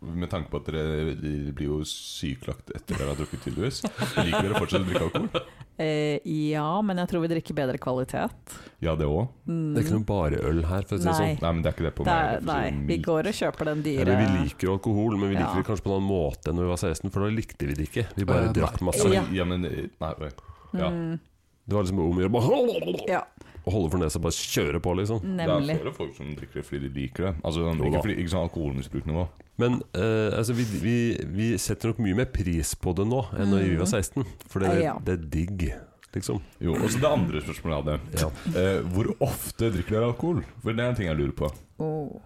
Speaker 4: Med tanke på at dere dere blir jo syklagt etter dere har drukket, tydeligvis. Liker dere fortsatt å drikke alkohol?
Speaker 2: Eh, ja, men jeg tror vi drikker bedre kvalitet.
Speaker 4: Ja, det òg.
Speaker 2: Mm.
Speaker 1: Det er ikke noe bare øl her, for å si det
Speaker 2: Nei.
Speaker 1: sånn.
Speaker 4: Nei, men det er sånn ikke det på
Speaker 2: Det er,
Speaker 4: meg.
Speaker 2: nei, vi går og kjøper den dyre
Speaker 1: Eller vi liker jo alkohol, men vi liker
Speaker 2: Ja.
Speaker 1: det kanskje på en annen måte enn når vi var 16, for da likte vi det ikke. Vi bare
Speaker 3: Eh,
Speaker 1: drakk
Speaker 3: nei.
Speaker 1: masse.
Speaker 4: Altså,
Speaker 2: Ja.
Speaker 4: ja. men eh, Nei, oi. ja.
Speaker 2: Mm,
Speaker 1: Det var liksom om å gjøre bare-
Speaker 2: ja, Mm.
Speaker 1: å holde for nesa og bare kjøre på, liksom.
Speaker 4: Det
Speaker 2: nemlig.
Speaker 4: er flere folk som drikker det fordi de liker det. Altså, sånn,
Speaker 1: Jo da.
Speaker 4: ikke, fordi, ikke sånn alkoholmisbruknivå.
Speaker 1: Men eh, altså, vi, vi, vi setter nok mye mer pris på det nå enn da vi var 16, for det,
Speaker 2: Mm. Ja.
Speaker 1: det er digg, liksom.
Speaker 4: Jo, og så det andre spørsmålet jeg hadde.
Speaker 1: Ja.
Speaker 4: Eh, hvor ofte drikker dere alkohol? For det er en ting jeg lurer på.
Speaker 2: Oh.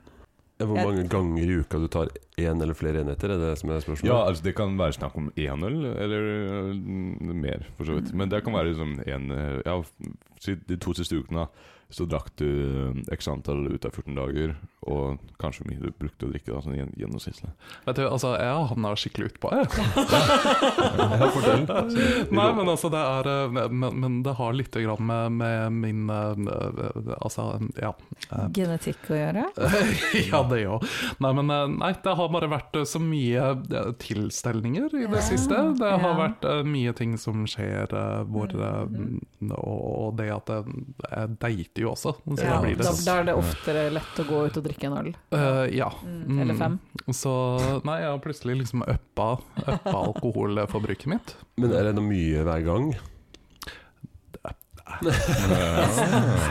Speaker 1: Hvor
Speaker 2: Jeg-
Speaker 1: mange ganger i uka du tar én eller flere enheter, er det som er spørsmålet?
Speaker 4: Ja, altså Det kan være snakk om én øl, eller øh, mer, for så vidt. Men det kan være liksom en øh, Ja, si de to siste ukene, da, så drakk du øh, x antall ut av 14 dager, og kanskje hvor mye du brukte å drikke, da, sånn gjen- gjennomsnittlig.
Speaker 3: Vet du, altså, jeg havna skikkelig utpå. jeg.
Speaker 4: Ja, fortell.
Speaker 3: Nei, men altså, det er eh, Men, men det har lite grann med, med min eh, Altså, ja. eh,
Speaker 2: Genetikk å gjøre?
Speaker 3: ja, det òg. Nei, men eh, nei, det har bare vært eh, så mye eh, tilstelninger i det
Speaker 2: Ja,
Speaker 3: siste. Det har
Speaker 2: ja.
Speaker 3: vært eh, mye ting som skjer eh, hvor eh,
Speaker 2: Mhm.
Speaker 3: og, og det at jeg, jeg dater jo også, så
Speaker 2: Ja,
Speaker 3: da blir det
Speaker 2: da,
Speaker 3: sånn.
Speaker 2: da er det oftere lett å gå ut og drikke en øl.
Speaker 3: Eh, ja.
Speaker 2: Mm, eller fem.
Speaker 3: Så nei, jeg har plutselig liksom uppa, uppa alkoholforbruket mitt.
Speaker 1: Men er det noe mye hver gang?
Speaker 4: øh,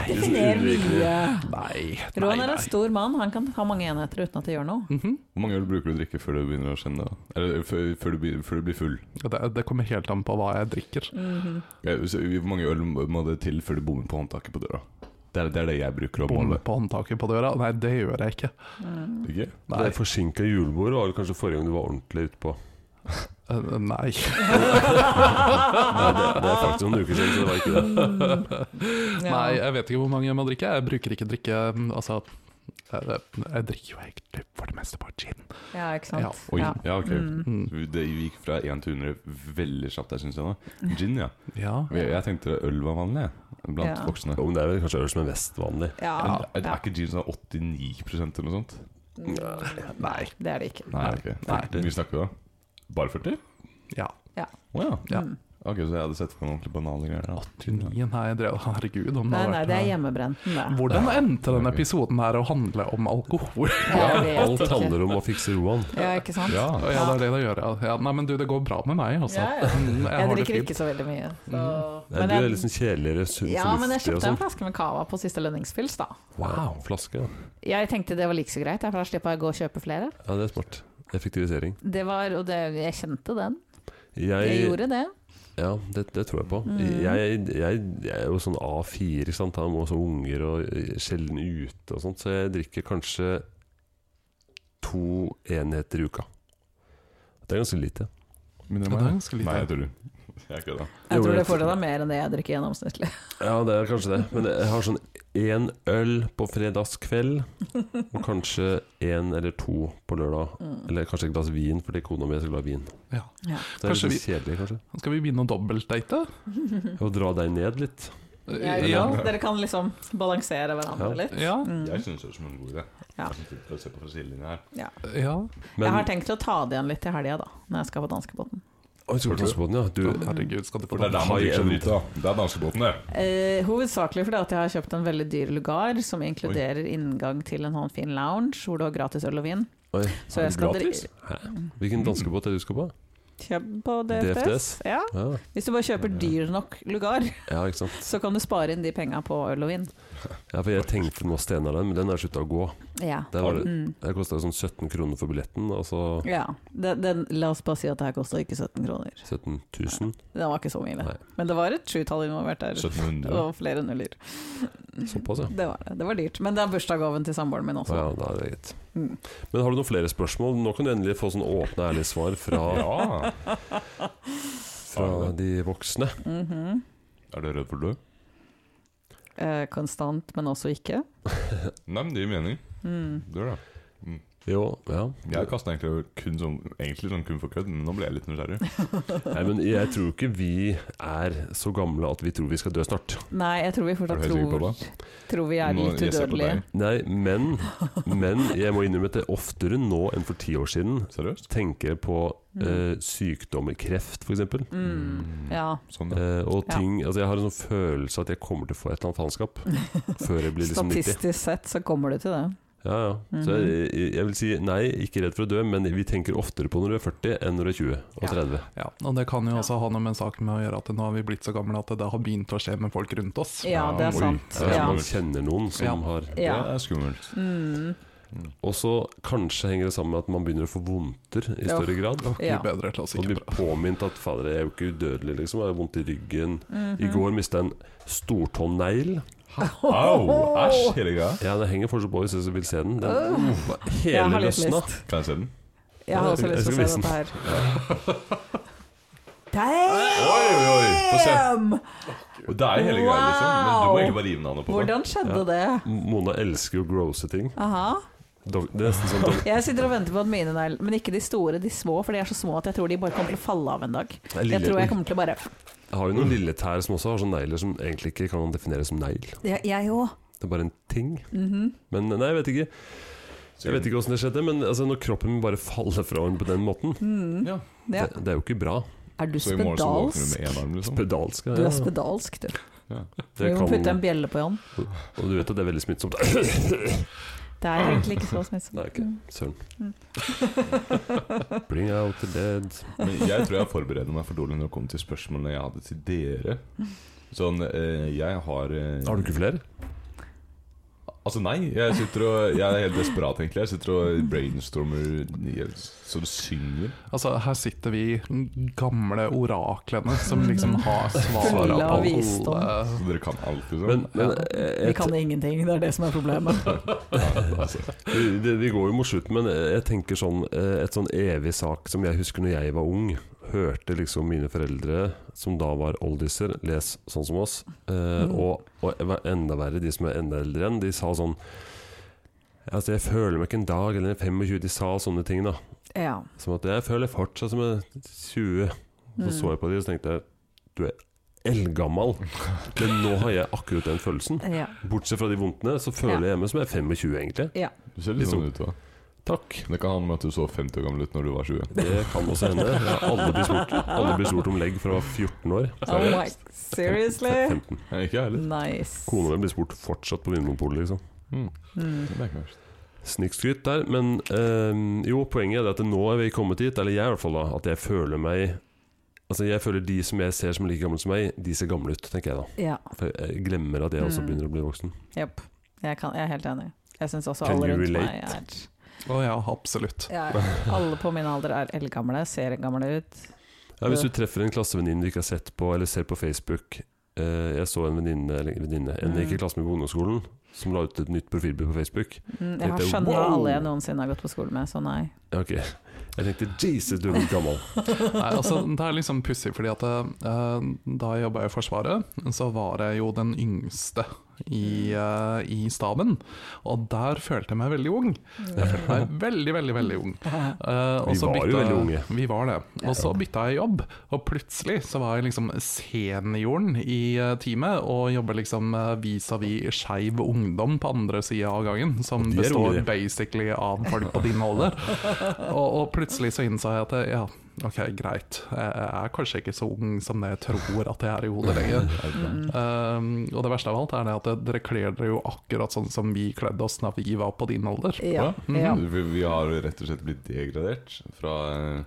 Speaker 2: Definer mye.
Speaker 3: Nei.
Speaker 2: Roan er en stor mann, han kan ha mange enheter uten at det gjør noe.
Speaker 3: Mhm.
Speaker 4: Hvor mange øl bruker du å drikke før du begynner å kjenne Eller øh, før, før, du, blir- før du blir full?
Speaker 3: det, det kommer helt an på hva jeg drikker.
Speaker 2: Mhm.
Speaker 4: Ja, så Hvor mange øl må det til før du bommer på håndtaket på døra? Det er det, er det jeg bruker å
Speaker 3: Bomme
Speaker 4: måle.
Speaker 3: på håndtaket på døra? Nei, det gjør jeg ikke.
Speaker 2: Mm.
Speaker 4: Ikke?
Speaker 3: Nei.
Speaker 1: Det forsinka julebord var vel kanskje forrige gang du var ordentlig ute på.
Speaker 3: Eh, nei.
Speaker 1: Nei, det, det er faktisk noen uker siden, så det var ikke det.
Speaker 2: Ja.
Speaker 3: nei, eh, jeg vet ikke hvor mange jeg må drikke. Jeg bruker ikke drikke mm, Altså, jeg, jeg drikker jo egentlig for det meste bare gin.
Speaker 2: Ja, ikke
Speaker 3: Ja,
Speaker 2: sant.
Speaker 4: Oi,
Speaker 2: Ja.
Speaker 4: ja, ok.
Speaker 2: Mm.
Speaker 3: Mm.
Speaker 4: Det gikk fra 1 til 100 veldig kjapt, jeg syns jeg. nå. Gin, ja.
Speaker 3: Ja.
Speaker 4: Jeg, jeg tenkte øl var vanlig jeg, blant
Speaker 2: Ja.
Speaker 4: voksne.
Speaker 1: Jo, men det er vel kanskje øl som er mest vanlig.
Speaker 2: Ja,
Speaker 4: Men er,
Speaker 2: ja.
Speaker 4: er ikke gin sånn 89 eller noe sånt?
Speaker 2: Mm,
Speaker 3: Nei.
Speaker 2: Det er det ikke. Mm.
Speaker 4: Nei, ok.
Speaker 3: Nei.
Speaker 4: Hvor mye snakker vi da? Bare 40?
Speaker 3: ja.
Speaker 4: Å ja.
Speaker 3: Ja.
Speaker 2: Mm.
Speaker 4: Ok, Så jeg hadde sett for meg noen ordentlig banale greier. da.
Speaker 3: 89, nei, jeg drev Herregud, om det
Speaker 2: Nei, nei,
Speaker 3: har vært
Speaker 2: det er hjemmebrenten, det.
Speaker 3: Hvordan endte denne episoden her å handle om alkohol?
Speaker 2: Jeg vet
Speaker 1: Alt
Speaker 2: ikke.
Speaker 1: handler om å fikse Roan.
Speaker 2: Ja, ikke sant?
Speaker 4: Ja.
Speaker 3: Ja, det er det det gjør. ja. Ja, nei, men du, det går bra med meg, altså.
Speaker 2: Ja, ja.
Speaker 3: Mm, Jeg,
Speaker 2: Jeg
Speaker 3: har det
Speaker 2: drikker
Speaker 3: fint.
Speaker 2: ikke så veldig mye. Så.
Speaker 1: Nei, du er liksom kjedeligere, su-
Speaker 2: ja, men
Speaker 1: fornuftig
Speaker 2: jeg
Speaker 1: og
Speaker 2: kjøpte en
Speaker 1: sånn.
Speaker 2: flaske med cava på siste lønningspils, da.
Speaker 1: Wow, flaske. ja.
Speaker 2: Jeg tenkte det var like så greit, for da slipper jeg å gå og kjøpe flere.
Speaker 1: Ja, det er smart. Effektivisering.
Speaker 2: Det var, og det, jeg kjente den.
Speaker 1: Jeg,
Speaker 2: Jeg gjorde det.
Speaker 1: Ja, det, det tror jeg på.
Speaker 2: Mm.
Speaker 1: Jeg, jeg, jeg er jo sånn A4, ikke sant? har også unger og eh, sjelden ute og sånt, så jeg drikker kanskje to enheter i uka. Det er ganske lite.
Speaker 4: Mindre
Speaker 3: Ja, det er ganske lite.
Speaker 4: Nei, jeg tror du. Jeg
Speaker 1: Jo,
Speaker 4: kødda.
Speaker 2: Jeg tror det
Speaker 1: jeg-
Speaker 2: fortsatt er mer enn det jeg drikker gjennomsnittlig.
Speaker 1: Ja, det er kanskje det. Men jeg har sånn én øl på fredagskveld, og kanskje én eller to på lørdag.
Speaker 2: Mm.
Speaker 1: Eller kanskje et glass vin, fordi kona mi er så glad i vin.
Speaker 3: Ja.
Speaker 2: Ja.
Speaker 1: Så det er
Speaker 3: Kanskje
Speaker 1: litt kjedelig, kanskje.
Speaker 3: Skal vi begynne å dobbeltdate?
Speaker 1: Å dra deg ned litt.
Speaker 2: Ja,
Speaker 3: ja.
Speaker 2: Dere kan liksom balansere hverandre
Speaker 1: Ja.
Speaker 2: litt.
Speaker 3: Ja.
Speaker 2: Mm.
Speaker 4: Jeg syns det høres ut som en god idé.
Speaker 2: Ja.
Speaker 4: Jeg synes det- for å se på sidelinjen her.
Speaker 3: ja.
Speaker 1: Men,
Speaker 2: Jeg har tenkt å ta det igjen litt til helga, da. Når jeg skal på danskebåten.
Speaker 1: Oi, skal vi ta oss på den, ja. Du,
Speaker 3: Herregud, skal du
Speaker 4: For
Speaker 3: på
Speaker 4: det er der man
Speaker 1: High
Speaker 4: drikker seg
Speaker 1: end.
Speaker 4: drita. Det er danskebåten, det.
Speaker 2: Eh, hovedsakelig fordi at jeg har kjøpt en veldig dyr lugar som inkluderer inngang til en sånn fin lounge hvor du har gratis øl og vin.
Speaker 1: oi.
Speaker 2: Så jeg skal dri-
Speaker 1: Hæ? Hvilken danskebåt er det du skal på?
Speaker 2: kjøpe på DFDS.
Speaker 1: DFDS?
Speaker 2: Ja.
Speaker 1: Ja,
Speaker 2: Hvis du bare kjøper
Speaker 4: Mm.
Speaker 2: dyr nok lugar,
Speaker 1: ja ikke sant.
Speaker 2: så kan du spare inn de penga på øl og vin.
Speaker 1: Ja, for jeg tenkte nå Steinar den, men den er slutta å gå.
Speaker 2: Ja.
Speaker 1: Det, var,
Speaker 2: Mm.
Speaker 1: det kosta sånn 17 kroner for billetten, altså og så
Speaker 2: ja. Den, den, la oss bare si at det her kosta ikke 17 kroner.
Speaker 1: 17 000.
Speaker 2: Den var ikke så mye.
Speaker 1: Nei.
Speaker 2: det. Men det var et sjutall involvert der.
Speaker 4: 1700.
Speaker 2: Og flere nuller.
Speaker 1: Såpass, ja.
Speaker 2: Det var det. Det var dyrt. Men det er bursdagsgaven til samboeren min
Speaker 1: Å
Speaker 2: også.
Speaker 1: ja, da er det greit.
Speaker 2: Mm.
Speaker 1: Men har du noen flere spørsmål? Nå kan du endelig få sånn åpne, ærlige svar fra,
Speaker 4: Ja.
Speaker 1: fra de voksne.
Speaker 2: Mhm.
Speaker 4: Er du redd for å dø?
Speaker 2: Eh, konstant, men også ikke.
Speaker 4: Nei, men det gir mening.
Speaker 2: Mm.
Speaker 4: Dør, da.
Speaker 1: Jo, ja.
Speaker 4: Jeg kasta egentlig kun sånn, egentlig sånn kun for kødd, men nå ble jeg litt nysgjerrig.
Speaker 1: Nei, men jeg tror ikke vi er så gamle at vi tror vi skal dø snart.
Speaker 2: Nei, jeg tror vi
Speaker 4: Er du
Speaker 2: fortsatt
Speaker 4: helt sikker på
Speaker 2: tror,
Speaker 4: det?
Speaker 2: tror vi er
Speaker 4: Nå-
Speaker 2: litt
Speaker 4: jeg ser på
Speaker 2: udødelige.
Speaker 4: deg.
Speaker 1: Nei, men, men jeg må innrømme at det er oftere nå enn for ti år siden
Speaker 4: Seriøst?
Speaker 1: tenker jeg på eh,
Speaker 2: Mm.
Speaker 1: sykdommer, kreft f.eks.
Speaker 2: Mm. Ja.
Speaker 4: Sånn, ja.
Speaker 1: Eh, og
Speaker 2: Ja.
Speaker 1: ting, altså Jeg har en sånn følelse at jeg kommer til å få et eller annet faenskap før jeg blir liksom 90.
Speaker 2: Statistisk sett så kommer du til det.
Speaker 1: Ja, ja.
Speaker 2: Mhm.
Speaker 1: Så jeg, jeg vil si nei, ikke redd for å dø, men vi tenker oftere på når du er 40 enn når du er 20 og
Speaker 2: Ja.
Speaker 1: 30.
Speaker 3: Ja, og det kan jo også ha noe med saken med å gjøre at nå har vi blitt så gamle at det har begynt å skje med folk rundt oss.
Speaker 2: Ja, det
Speaker 4: Ja,
Speaker 2: er
Speaker 4: oi.
Speaker 2: sant.
Speaker 1: Ja.
Speaker 2: Ja.
Speaker 1: sånn Man kjenner noen som
Speaker 3: Ja.
Speaker 1: har
Speaker 2: Ja.
Speaker 4: Det er skummelt.
Speaker 2: Mm.
Speaker 1: Og så kanskje henger det sammen med at man begynner å få vondter i
Speaker 2: Ja.
Speaker 1: større grad.
Speaker 3: Og
Speaker 2: Ja.
Speaker 3: Gud bedre, la oss
Speaker 1: Man
Speaker 3: ikke
Speaker 1: blir
Speaker 3: dra.
Speaker 1: påminnet at fader, jeg er jo ikke udødelig, liksom. Jeg har vondt i ryggen.
Speaker 2: Mhm.
Speaker 1: I går mista jeg en stortånegl.
Speaker 4: Au! Æsj, hele greia.
Speaker 1: Ja, det henger fortsatt på hvis du vil se den. den
Speaker 2: Jeg
Speaker 1: hele
Speaker 2: har litt
Speaker 1: løsna.
Speaker 2: lyst.
Speaker 4: Kan jeg se den?
Speaker 2: Jeg har også
Speaker 1: Jeg
Speaker 2: lyst til
Speaker 1: skal
Speaker 2: å se
Speaker 1: vise
Speaker 2: dette her. Damn!
Speaker 4: Oi, oi, oi! Få se. Og det er hele greia, liksom. Men du må
Speaker 2: Wow.
Speaker 4: egentlig bare rive navnet på det.
Speaker 2: Hvordan skjedde det?
Speaker 1: Mona elsker jo grosse ting.
Speaker 2: Aha.
Speaker 1: Dok- Det er nesten sånn dok-
Speaker 2: Jeg sitter og venter på at mine negler Men ikke de store, de små, for de er så små at jeg tror de bare kommer til å falle av en dag. Jeg tror jeg kommer til å bare
Speaker 1: Jeg har jo noen lille tær som også har sånne negler som egentlig ikke kan defineres som negl.
Speaker 2: Jeg- Jeg òg.
Speaker 1: Det er bare en ting.
Speaker 2: Mhm.
Speaker 1: Men nei, jeg vet ikke Jeg vet ikke åssen det skjedde, men altså, når kroppen min bare faller fra hverandre på den måten,
Speaker 4: Ja.
Speaker 2: Mm, Ja.
Speaker 1: det, det er jo ikke bra.
Speaker 2: Er du
Speaker 4: Så i morgen så våkner du
Speaker 2: spedalsk?
Speaker 4: med én arm, liksom.
Speaker 1: Pedalsk, ja.
Speaker 2: Du er spedalsk, du. Vi
Speaker 1: Det
Speaker 2: må putte en
Speaker 1: kan,
Speaker 2: bjelle på Jan.
Speaker 1: og du vet at det er veldig smittsomt.
Speaker 2: Det er egentlig ikke så smittsomt.
Speaker 1: Nei, ikke. Søren.
Speaker 2: Mm.
Speaker 1: Bring out the dead.
Speaker 4: Men jeg tror jeg forbereder meg for dårlig når det kommer til spørsmålene jeg hadde til dere. Sånn, eh, jeg har eh,
Speaker 1: Har du ikke flere?
Speaker 4: Altså nei, jeg sitter og Jeg er helt desperat egentlig Jeg sitter og brainstormer jeg, Så du synger
Speaker 3: Altså, her sitter vi gamle oraklene som liksom har svaret
Speaker 2: Mm. Fulle
Speaker 3: på
Speaker 2: av visdom.
Speaker 3: alle
Speaker 4: Så dere kan alt liksom
Speaker 1: Men, men
Speaker 3: eh,
Speaker 1: eh,
Speaker 2: Vi
Speaker 1: jeg,
Speaker 2: kan ingenting, det er det som er problemet.
Speaker 1: Vi- det, vi altså. går jo mot slutten, men jeg tenker sånn eh, Et sånn evig sak som jeg husker når jeg var ung. Hørte liksom mine foreldre, som da var oldiser, les sånn som oss. Eh, og, og hva- enda verre, de som er enda eldre igjen, de sa sånn Altså, jeg føler meg ikke en dag eller en 25, de sa sånne ting, da.
Speaker 2: Ja.
Speaker 1: Som at jeg føler fortsatt som jeg er 20.
Speaker 2: Mm.
Speaker 1: Så så jeg på de og så tenkte jeg Du er eldgammel. Men nå har jeg akkurat den følelsen.
Speaker 2: Mm. ja.
Speaker 1: Bortsett fra de vondtene, så føler jeg hjemme som jeg er 25, egentlig.
Speaker 4: Du ser litt
Speaker 1: Liksom.
Speaker 4: sånn ut da
Speaker 1: Takk.
Speaker 4: Det kan handle om at du så 50 år gammel ut når du var 20
Speaker 1: Det kan også hende. Jeg har aldri blitt spurt, aldri blitt spurt om legg fra jeg var 14 år.
Speaker 2: Oh my, seriously?
Speaker 1: 15.
Speaker 4: Nei, Ikke jeg heller
Speaker 2: Nice.
Speaker 1: Kona mi blir spurt fortsatt på Vinmonopolet, liksom.
Speaker 4: mm.
Speaker 2: Mm.
Speaker 4: Det er ikke verst
Speaker 1: Snikskryt der. Men eh, jo, poenget er det at nå er vi kommet dit, eller jeg i hvert fall, da, at jeg føler meg Altså Jeg føler de som jeg ser som er like gamle som meg, de ser gamle ut, tenker jeg da.
Speaker 2: Ja,
Speaker 1: For jeg glemmer at jeg også
Speaker 2: Mm.
Speaker 1: begynner å bli voksen.
Speaker 2: jepp. Jeg, kan- jeg er helt enig. Jeg syns også
Speaker 1: Can
Speaker 2: alle
Speaker 1: you
Speaker 2: rundt meg
Speaker 1: relate?
Speaker 2: er
Speaker 3: Å ja, absolutt.
Speaker 2: ja, Alle på min alder er eldgamle, ser gamle ut.
Speaker 1: Ja, Nei, hvis du treffer en klassevenninne du ikke har sett på eller ser på Facebook eh, Jeg så en venninne, eller venninne en jeg gikk i klasse med på ungdomsskolen, som la ut et nytt profilbilde på Facebook.
Speaker 2: Mm, Jeg har
Speaker 1: Tenkte,
Speaker 2: skjønna
Speaker 1: wow!
Speaker 2: alle jeg noensinne har gått på skole med, så nei.
Speaker 1: Ja, Ok, Jeg tenkte 'Jesus, du er blitt gammel'.
Speaker 3: Nei, altså, det er liksom pussig, fordi at eh, da jeg jobba i Forsvaret, så var jeg jo den yngste i,
Speaker 2: Mm.
Speaker 3: eh, i staben. Og der følte jeg meg veldig ung. Jeg følte meg veldig, veldig, veldig ung. Eh, og
Speaker 1: Vi
Speaker 3: så
Speaker 1: var jo veldig unge.
Speaker 3: Vi var det. Og så bytta jeg jobb, og plutselig så var jeg liksom senioren i eh, teamet, og jobber liksom eh, vis-à-vis skeiv ungdom på andre sida av gangen, som
Speaker 1: de er
Speaker 3: består
Speaker 1: unge, de.
Speaker 3: basically av folk på din alder. Og, og plutselig så innså jeg at eh, ja, ok, greit, jeg er kanskje ikke så ung som det jeg tror at jeg er i hodet lenger.
Speaker 2: Mm.
Speaker 3: Um, og det verste av alt er det at dere kler dere jo akkurat sånn som vi kledde oss da vi var på din alder.
Speaker 2: Ja,
Speaker 3: Mhm.
Speaker 2: ja.
Speaker 1: Mm.
Speaker 4: Vi, vi har rett og slett blitt degradert fra eh,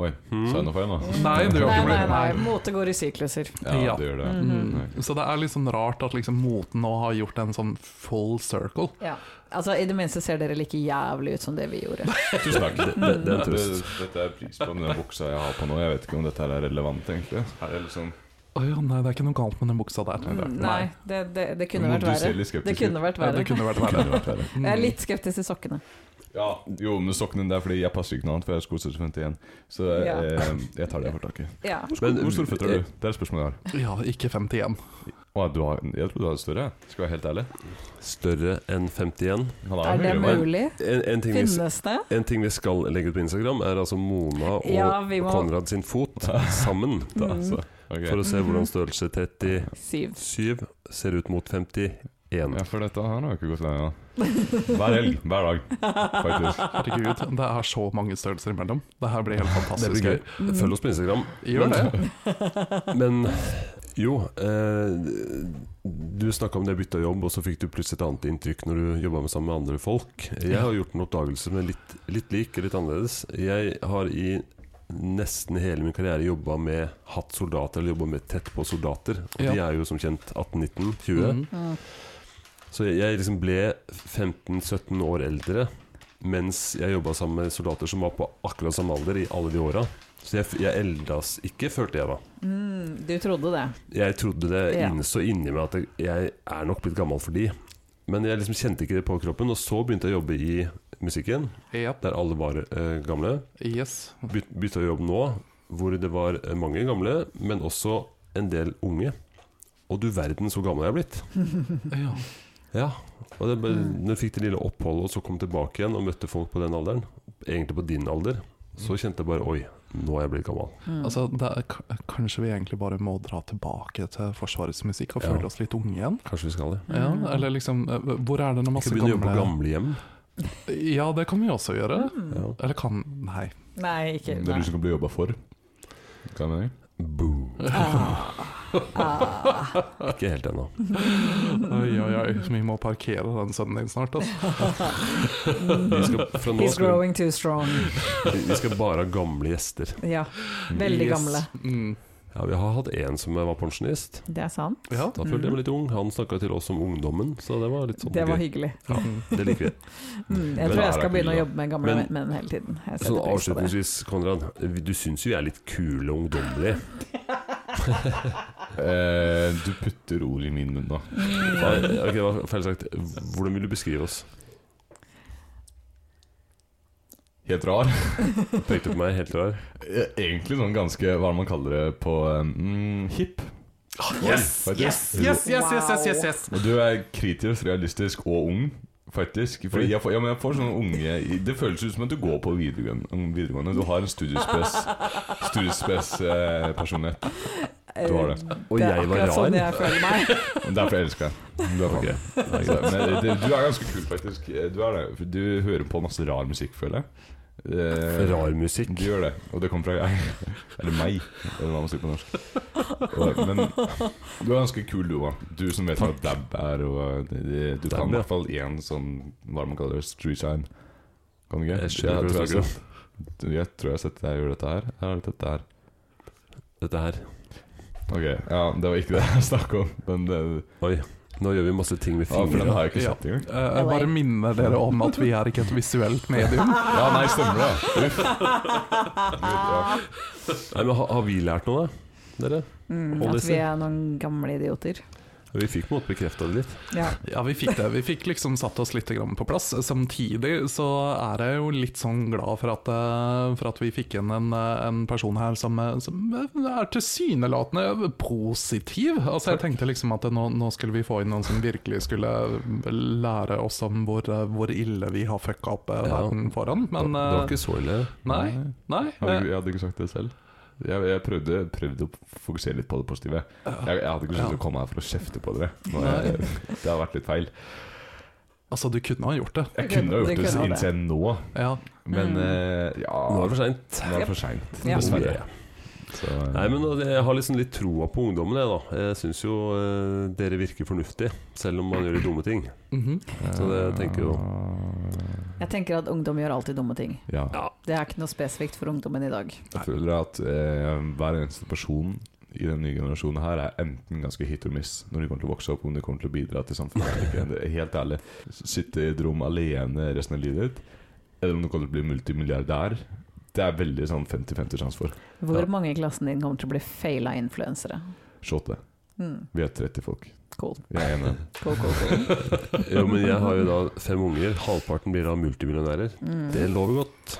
Speaker 4: Oi, Mm.
Speaker 1: Mm.
Speaker 4: sa jeg noe feil nå?
Speaker 3: Nei, du har
Speaker 2: Nei,
Speaker 3: ikke
Speaker 2: nei,
Speaker 3: blitt
Speaker 2: nei. Mm-hmm. Mote går i sykluser.
Speaker 4: Ja,
Speaker 3: Ja.
Speaker 4: det gjør det.
Speaker 2: Mhm.
Speaker 3: Mm.
Speaker 4: Ok.
Speaker 3: Så det er liksom rart at liksom moten nå har gjort en sånn full circle.
Speaker 2: Ja. Altså, I det minste ser dere like jævlig ut som det vi gjorde.
Speaker 4: Tusen takk.
Speaker 1: Det, det, det er en trøst.
Speaker 4: Det- Dette er pris på men den buksa jeg har på nå. Jeg vet ikke om dette her er relevant, egentlig. Er det liksom
Speaker 3: Å ja, nei, det er ikke noe galt med den buksa der.
Speaker 2: Mm, Nei, det, det, det kunne vært
Speaker 4: Nå, du ser litt
Speaker 2: verre.
Speaker 4: skeptisk
Speaker 2: Det kunne vært
Speaker 3: Ja, det
Speaker 2: verre.
Speaker 3: kunne vært
Speaker 4: Det
Speaker 3: verre. Mm.
Speaker 4: kunne vært verre.
Speaker 2: Jeg er litt skeptisk til sokkene.
Speaker 4: Ja, jo, men sokkene der, fordi jeg passer ikke noe annet, for jeg er skostørrelse 51. Så
Speaker 2: Ja.
Speaker 4: eh, jeg tar det for taket.
Speaker 2: Ja.
Speaker 4: Hvor, stor-
Speaker 1: Men- eh,
Speaker 4: hvor store føtter har du? eh, Det er spørsmålet jeg har.
Speaker 3: Ja, ikke 51.
Speaker 4: Å, du har. Jeg tror du har større, jeg. skal jeg være helt ærlig.
Speaker 1: Større enn 51.
Speaker 4: Han
Speaker 2: Er det
Speaker 4: høyere enn meg.
Speaker 2: mulig?
Speaker 1: En, en, ting vi,
Speaker 2: Finnes det?
Speaker 1: en ting vi skal legge ut på Instagram, er altså Mona og
Speaker 2: Ja, vi må-
Speaker 1: Konrad sin fot sammen.
Speaker 4: Da, så. Altså, ok.
Speaker 1: For å se hvordan størrelse 37
Speaker 2: Syv.
Speaker 1: ser ut mot 51.
Speaker 4: Ja, for dette her har jeg ikke gått lenger. Hver helg, hver dag, faktisk.
Speaker 3: Herregud, det er så mange størrelser imellom. Det her blir helt
Speaker 1: Det
Speaker 3: fantastisk
Speaker 1: blir gøy.
Speaker 2: Mm.
Speaker 1: Følg oss på Instagram.
Speaker 3: Gjør det.
Speaker 1: Men jo, eh, du snakka om det bytta jobb, og så fikk du plutselig et annet inntrykk når du jobba sammen med andre folk. Jeg har gjort en oppdagelse med litt, litt lik, litt annerledes. Jeg har i nesten hele min karriere jobba med hatt soldater, eller jobba med tett på soldater. Og de
Speaker 3: Ja.
Speaker 1: er jo som kjent 18-19-20.
Speaker 3: Mm.
Speaker 2: Mm.
Speaker 1: Så jeg, jeg liksom ble 15-17 år eldre mens jeg jobba sammen med soldater som var på akkurat samme alder i alle de åra. Så jeg, f- jeg eldes ikke, følte jeg da.
Speaker 2: Mm, du trodde det.
Speaker 1: Jeg trodde det
Speaker 2: Ja.
Speaker 1: innså inni meg at jeg, jeg er nok blitt gammel for de. Men jeg liksom kjente ikke det på kroppen, og så begynte jeg å jobbe i musikken,
Speaker 3: Ja,
Speaker 1: der alle var eh, gamle.
Speaker 3: yes.
Speaker 1: Byt, bytta jobb nå, hvor det var eh, mange gamle, men også en del unge. Og du verden så gammel jeg er blitt.
Speaker 3: Ja.
Speaker 1: Ja, og det, ble- når jeg fikk det lille oppholdet og så kom tilbake igjen og møtte folk på den alderen, egentlig på din alder, så kjente jeg bare oi, nå er jeg blitt gammel.
Speaker 2: Mm.
Speaker 3: Altså, det er, k- kanskje vi egentlig bare må dra tilbake til Forsvarets musikk og
Speaker 1: Ja.
Speaker 3: føle oss litt unge igjen?
Speaker 1: Kanskje vi skal det.
Speaker 3: Ja,
Speaker 2: Mm.
Speaker 3: eller liksom eh, Hvor er det når
Speaker 1: Ikke
Speaker 3: masse
Speaker 1: begynne å jobbe på
Speaker 3: gamle
Speaker 1: gamlehjem.
Speaker 3: Ja, det kan vi også gjøre.
Speaker 1: Ja.
Speaker 3: Eller kan Nei.
Speaker 2: Mm. Nei,
Speaker 4: Det
Speaker 2: ikke
Speaker 4: er
Speaker 2: nei.
Speaker 4: du som kan bli jobba for. Hva mener jeg?
Speaker 1: Boom.
Speaker 2: Ah. Ah.
Speaker 1: Ikke helt ennå.
Speaker 3: Oi, oi, oi. Vi må parkere den sønnen din snart. Altså.
Speaker 1: Vi skal, fra nå
Speaker 2: He's
Speaker 1: skal
Speaker 2: growing too strong.
Speaker 1: vi, vi skal bare ha gamle gjester.
Speaker 2: Ja, veldig
Speaker 3: Yes.
Speaker 2: gamle.
Speaker 3: Mm.
Speaker 1: Ja, Vi har hatt én som var pensjonist.
Speaker 2: Det er sant.
Speaker 3: Ja.
Speaker 1: Da følte jeg meg litt ung. Han snakka til oss om ungdommen, så det var litt sånn
Speaker 2: Mm. Det var
Speaker 1: gøy.
Speaker 2: hyggelig.
Speaker 1: Ja, det liker vi.
Speaker 2: Mm,
Speaker 1: Men
Speaker 2: jeg tror
Speaker 1: da
Speaker 2: jeg
Speaker 1: er
Speaker 2: skal
Speaker 1: det
Speaker 2: begynne å
Speaker 1: hyggelig,
Speaker 2: jobbe med gamle
Speaker 1: Men-
Speaker 2: menn hele tiden. Jeg setter
Speaker 1: Sånn
Speaker 2: pris på det.
Speaker 1: avslutningsvis, Konrad. Du syns jo vi er litt kule og ungdommelige.
Speaker 4: Eh, du putter ord i min munn nå.
Speaker 2: Mm.
Speaker 1: Nei, Ok, det var feil sagt. Hvordan vil du beskrive oss?
Speaker 4: Helt rar.
Speaker 1: Pekte på meg helt rar.
Speaker 4: Eh, Egentlig sånn ganske Hva er det man kaller det på eh, mm, hip?
Speaker 3: Ah, Yes,
Speaker 4: Oi,
Speaker 3: yes, yes, yes, yes, yes, yes, yes.
Speaker 4: Og du er kritisk, realistisk og ung, faktisk. Fordi jeg får, ja, men jeg får sånne unge Det føles ut som at du går på videregående. videregående. Du har en studiespes Studiespes eh, personlighet. Du har det.
Speaker 1: Og
Speaker 2: det er
Speaker 1: jeg var
Speaker 2: akkurat
Speaker 1: rar.
Speaker 2: sånn jeg føler meg.
Speaker 4: Derfor elsker jeg deg. Du er
Speaker 1: Ok,
Speaker 4: faen. Så, men eh, det, du er ganske kul, faktisk. Eh, Du, er det. For du hører på masse rar musikk, føler jeg. Eh,
Speaker 1: Rar musikk.
Speaker 4: Du gjør det, og det kommer fra jeg. Eller meg, eller hva man sier på norsk. Og, men du er ganske kul, du òg. Du som vet hva dab er. Og, det- det- du
Speaker 1: Dab,
Speaker 4: kan
Speaker 1: ja.
Speaker 4: i hvert fall én sånn hva er det man kaller det, street shine. Kan du ikke?
Speaker 1: Jeg skjønner hva du
Speaker 4: tror jeg,
Speaker 1: snakker om.
Speaker 4: har sett- jeg tror jeg har sett deg gjøre dette her. Her har du dette her.
Speaker 1: Dette her.
Speaker 4: Ok, ja, det var ikke det jeg snakket om. Men det,
Speaker 1: Oi. Nå gjør vi masse ting med
Speaker 4: Ja, for den
Speaker 1: fingrene.
Speaker 4: har jeg ikke
Speaker 3: Ja.
Speaker 4: sett engang.
Speaker 3: Eh, Jeg bare minner dere om at vi er ikke et visuelt medium.
Speaker 4: Ja, nei, stemmer det. Uff. Ja.
Speaker 1: Nei, men har, har vi lært noe, da? Dere?
Speaker 2: Mm,
Speaker 1: Holder
Speaker 2: at vi
Speaker 1: seg.
Speaker 2: er noen gamle idioter.
Speaker 1: Vi fikk på en måte bekrefta det litt.
Speaker 2: Ja.
Speaker 3: Ja, vi fikk det. Vi fikk liksom satt oss litt grann på plass. Samtidig så er jeg jo litt sånn glad for at, eh, for at vi fikk inn en, eh, en person her som, eh, som er tilsynelatende positiv. Altså Jeg tenkte liksom at nå, nå skulle vi få inn noen som virkelig skulle lære oss om hvor, eh, hvor ille vi har fucka opp eh,
Speaker 1: Ja.
Speaker 3: verden foran. Men
Speaker 1: det, det var
Speaker 3: eh,
Speaker 1: ikke så ille.
Speaker 3: nei. nei
Speaker 4: Jeg hadde,
Speaker 3: eh,
Speaker 4: jeg hadde ikke sagt det selv. Jeg, jeg prøvde, prøvde å fokusere litt på det positive. Jeg, jeg hadde ikke lyst til å komme her for å kjefte på dere. Nå har jeg, det har vært litt feil.
Speaker 3: Altså, du kunne ha gjort det.
Speaker 4: Jeg kunne ha
Speaker 2: Du
Speaker 4: gjort det,
Speaker 2: kunne ha det.
Speaker 4: innser jeg nå,
Speaker 3: Ja.
Speaker 4: men eh,
Speaker 1: Mm. Nå er
Speaker 4: ja
Speaker 1: det
Speaker 4: Nå
Speaker 1: for seint.
Speaker 4: er det for seint,
Speaker 2: Ja.
Speaker 4: dessverre.
Speaker 1: Ja.
Speaker 4: Så, eh,
Speaker 1: Nei, men Jeg har liksom litt troa på ungdommen, jeg, da. Jeg syns jo eh, dere virker fornuftige, selv om man gjør de dumme ting.
Speaker 3: Mhm.
Speaker 1: Så det tenker jeg jo.
Speaker 2: Jeg tenker at ungdom gjør alltid dumme ting.
Speaker 4: ja.
Speaker 2: Det er ikke noe spesifikt for ungdommen i dag.
Speaker 4: Jeg føler at eh, hver eneste person i den nye generasjonen her er enten ganske hit or miss når de kommer til å vokse opp, om de kommer til å bidra til samfunnet. eller ikke. Det er Helt ærlig. Sitte i et rom alene resten av livet ditt, eller om du kommer til å bli multimilliardær, det er veldig sånn 50-50 sjanse for.
Speaker 2: Hvor
Speaker 4: Ja.
Speaker 2: mange i klassen din kommer til å bli feila influensere?
Speaker 4: Shot det.
Speaker 2: Mm.
Speaker 4: Vi er 30 folk.
Speaker 2: Cool.
Speaker 4: Jeg er en av dem.
Speaker 2: Cool, cool, cool.
Speaker 1: Jo, men jeg har jo da fem unger. Halvparten blir da multimillionærer.
Speaker 2: Hmm.
Speaker 1: Det lover godt.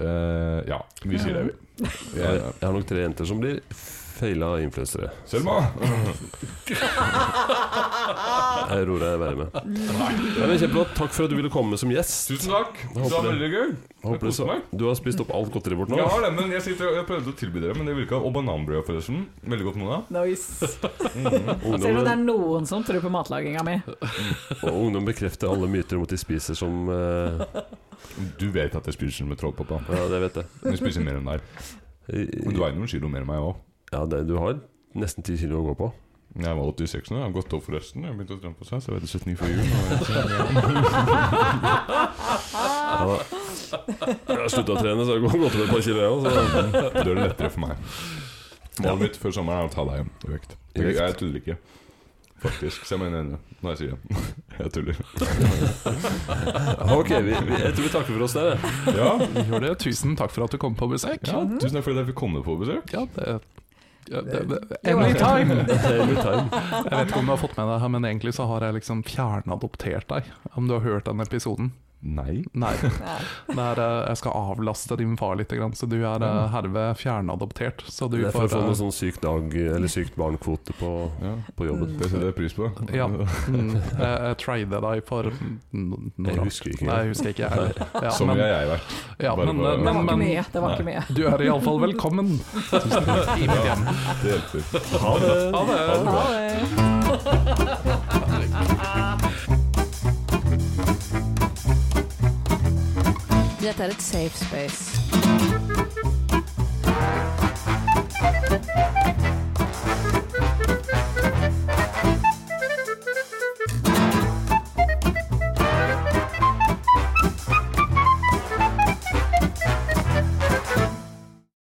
Speaker 4: Eh, ja, vi sier det, vi.
Speaker 1: Jeg,
Speaker 4: Jeg-
Speaker 1: jeg har nok tre jenter som blir feila influensere.
Speaker 4: Selma!
Speaker 1: Jeg ror deg være med. Nei, men Kjempebra. Takk for at du ville komme som gjest.
Speaker 4: Tusen takk!
Speaker 1: Det var veldig
Speaker 4: gøy.
Speaker 1: Håper du, så, du har spist opp alt godteriet vårt nå.
Speaker 4: Jeg har det, men jeg, sitter, jeg prøvde å tilby dere, men det virka. Og bananbrød, forresten. Veldig godt, Mona.
Speaker 2: Nice. Ser du det
Speaker 1: Ungdommen,
Speaker 2: er noen som tror på matlaginga mi?
Speaker 1: og ungdom bekrefter alle myter om at de spiser som eh,
Speaker 4: Du vet at jeg spiser med trollpappa.
Speaker 1: Ja, det vet jeg.
Speaker 4: Men jeg spiser mer enn deg. Men du
Speaker 1: I-
Speaker 4: veier noen kilo mer enn meg òg.
Speaker 1: Ja, det, du har nesten ti kilo å gå på.
Speaker 4: Jeg var 86 nå, jeg har gått opp forresten. Jeg begynte å trene på seg, så jeg vet 79 før jul. og jeg-
Speaker 1: Ja, da. Jeg har slutta å trene, så jeg har gått opp et par kilo, jeg òg.
Speaker 4: Da er det lettere for meg. Målet
Speaker 1: Ja.
Speaker 4: mitt før sommeren er å ta deg igjen i vekt.
Speaker 1: I vekt?
Speaker 4: Jeg, jeg tuller ikke. Faktisk. Se meg i øynene når jeg sier det. Jeg tuller.
Speaker 1: Ok, vi, vi, jeg tror vi takker for oss der. jeg.
Speaker 4: Ja,
Speaker 3: Gjør det. Tusen takk for at du kom på besøk.
Speaker 4: ja Tusen takk for at jeg fikk komme på besøk.
Speaker 3: Ja, det, ja, det, det
Speaker 2: Det var-
Speaker 3: Anytime!
Speaker 1: Anytime.
Speaker 3: Jeg vet ikke om du har fått med deg her, men egentlig så har jeg liksom fjernadoptert deg. Om du har hørt den episoden?
Speaker 4: Nei.
Speaker 3: Nei. Det er, eh, jeg skal avlaste din far litt, grann, så du er eh, herved fjernadoptert. Så du
Speaker 1: Det er for å
Speaker 3: får
Speaker 1: få
Speaker 3: eh,
Speaker 1: noe sånn syk dag eller sykt barn-kvote på,
Speaker 4: Ja.
Speaker 1: på jobben.
Speaker 4: Det setter jeg pris på.
Speaker 3: Ja. Mm, jeg jeg trader deg for n- når
Speaker 1: Jeg
Speaker 3: da?
Speaker 1: husker ikke.
Speaker 3: Nei, jeg husker ikke. Jeg, heller. ja,
Speaker 4: Som
Speaker 3: men,
Speaker 4: jeg jeg vært.
Speaker 3: ja,
Speaker 4: bare
Speaker 3: men,
Speaker 4: for-
Speaker 3: eh,
Speaker 2: Det var ikke
Speaker 3: men, men
Speaker 2: mye. Det var ikke mye.
Speaker 3: du er iallfall velkommen. I mitt hjem.
Speaker 4: Det hjelper.
Speaker 1: Ha det!
Speaker 3: Ha det!
Speaker 4: Ha det bra.
Speaker 2: Ha det. Dette er et safe space.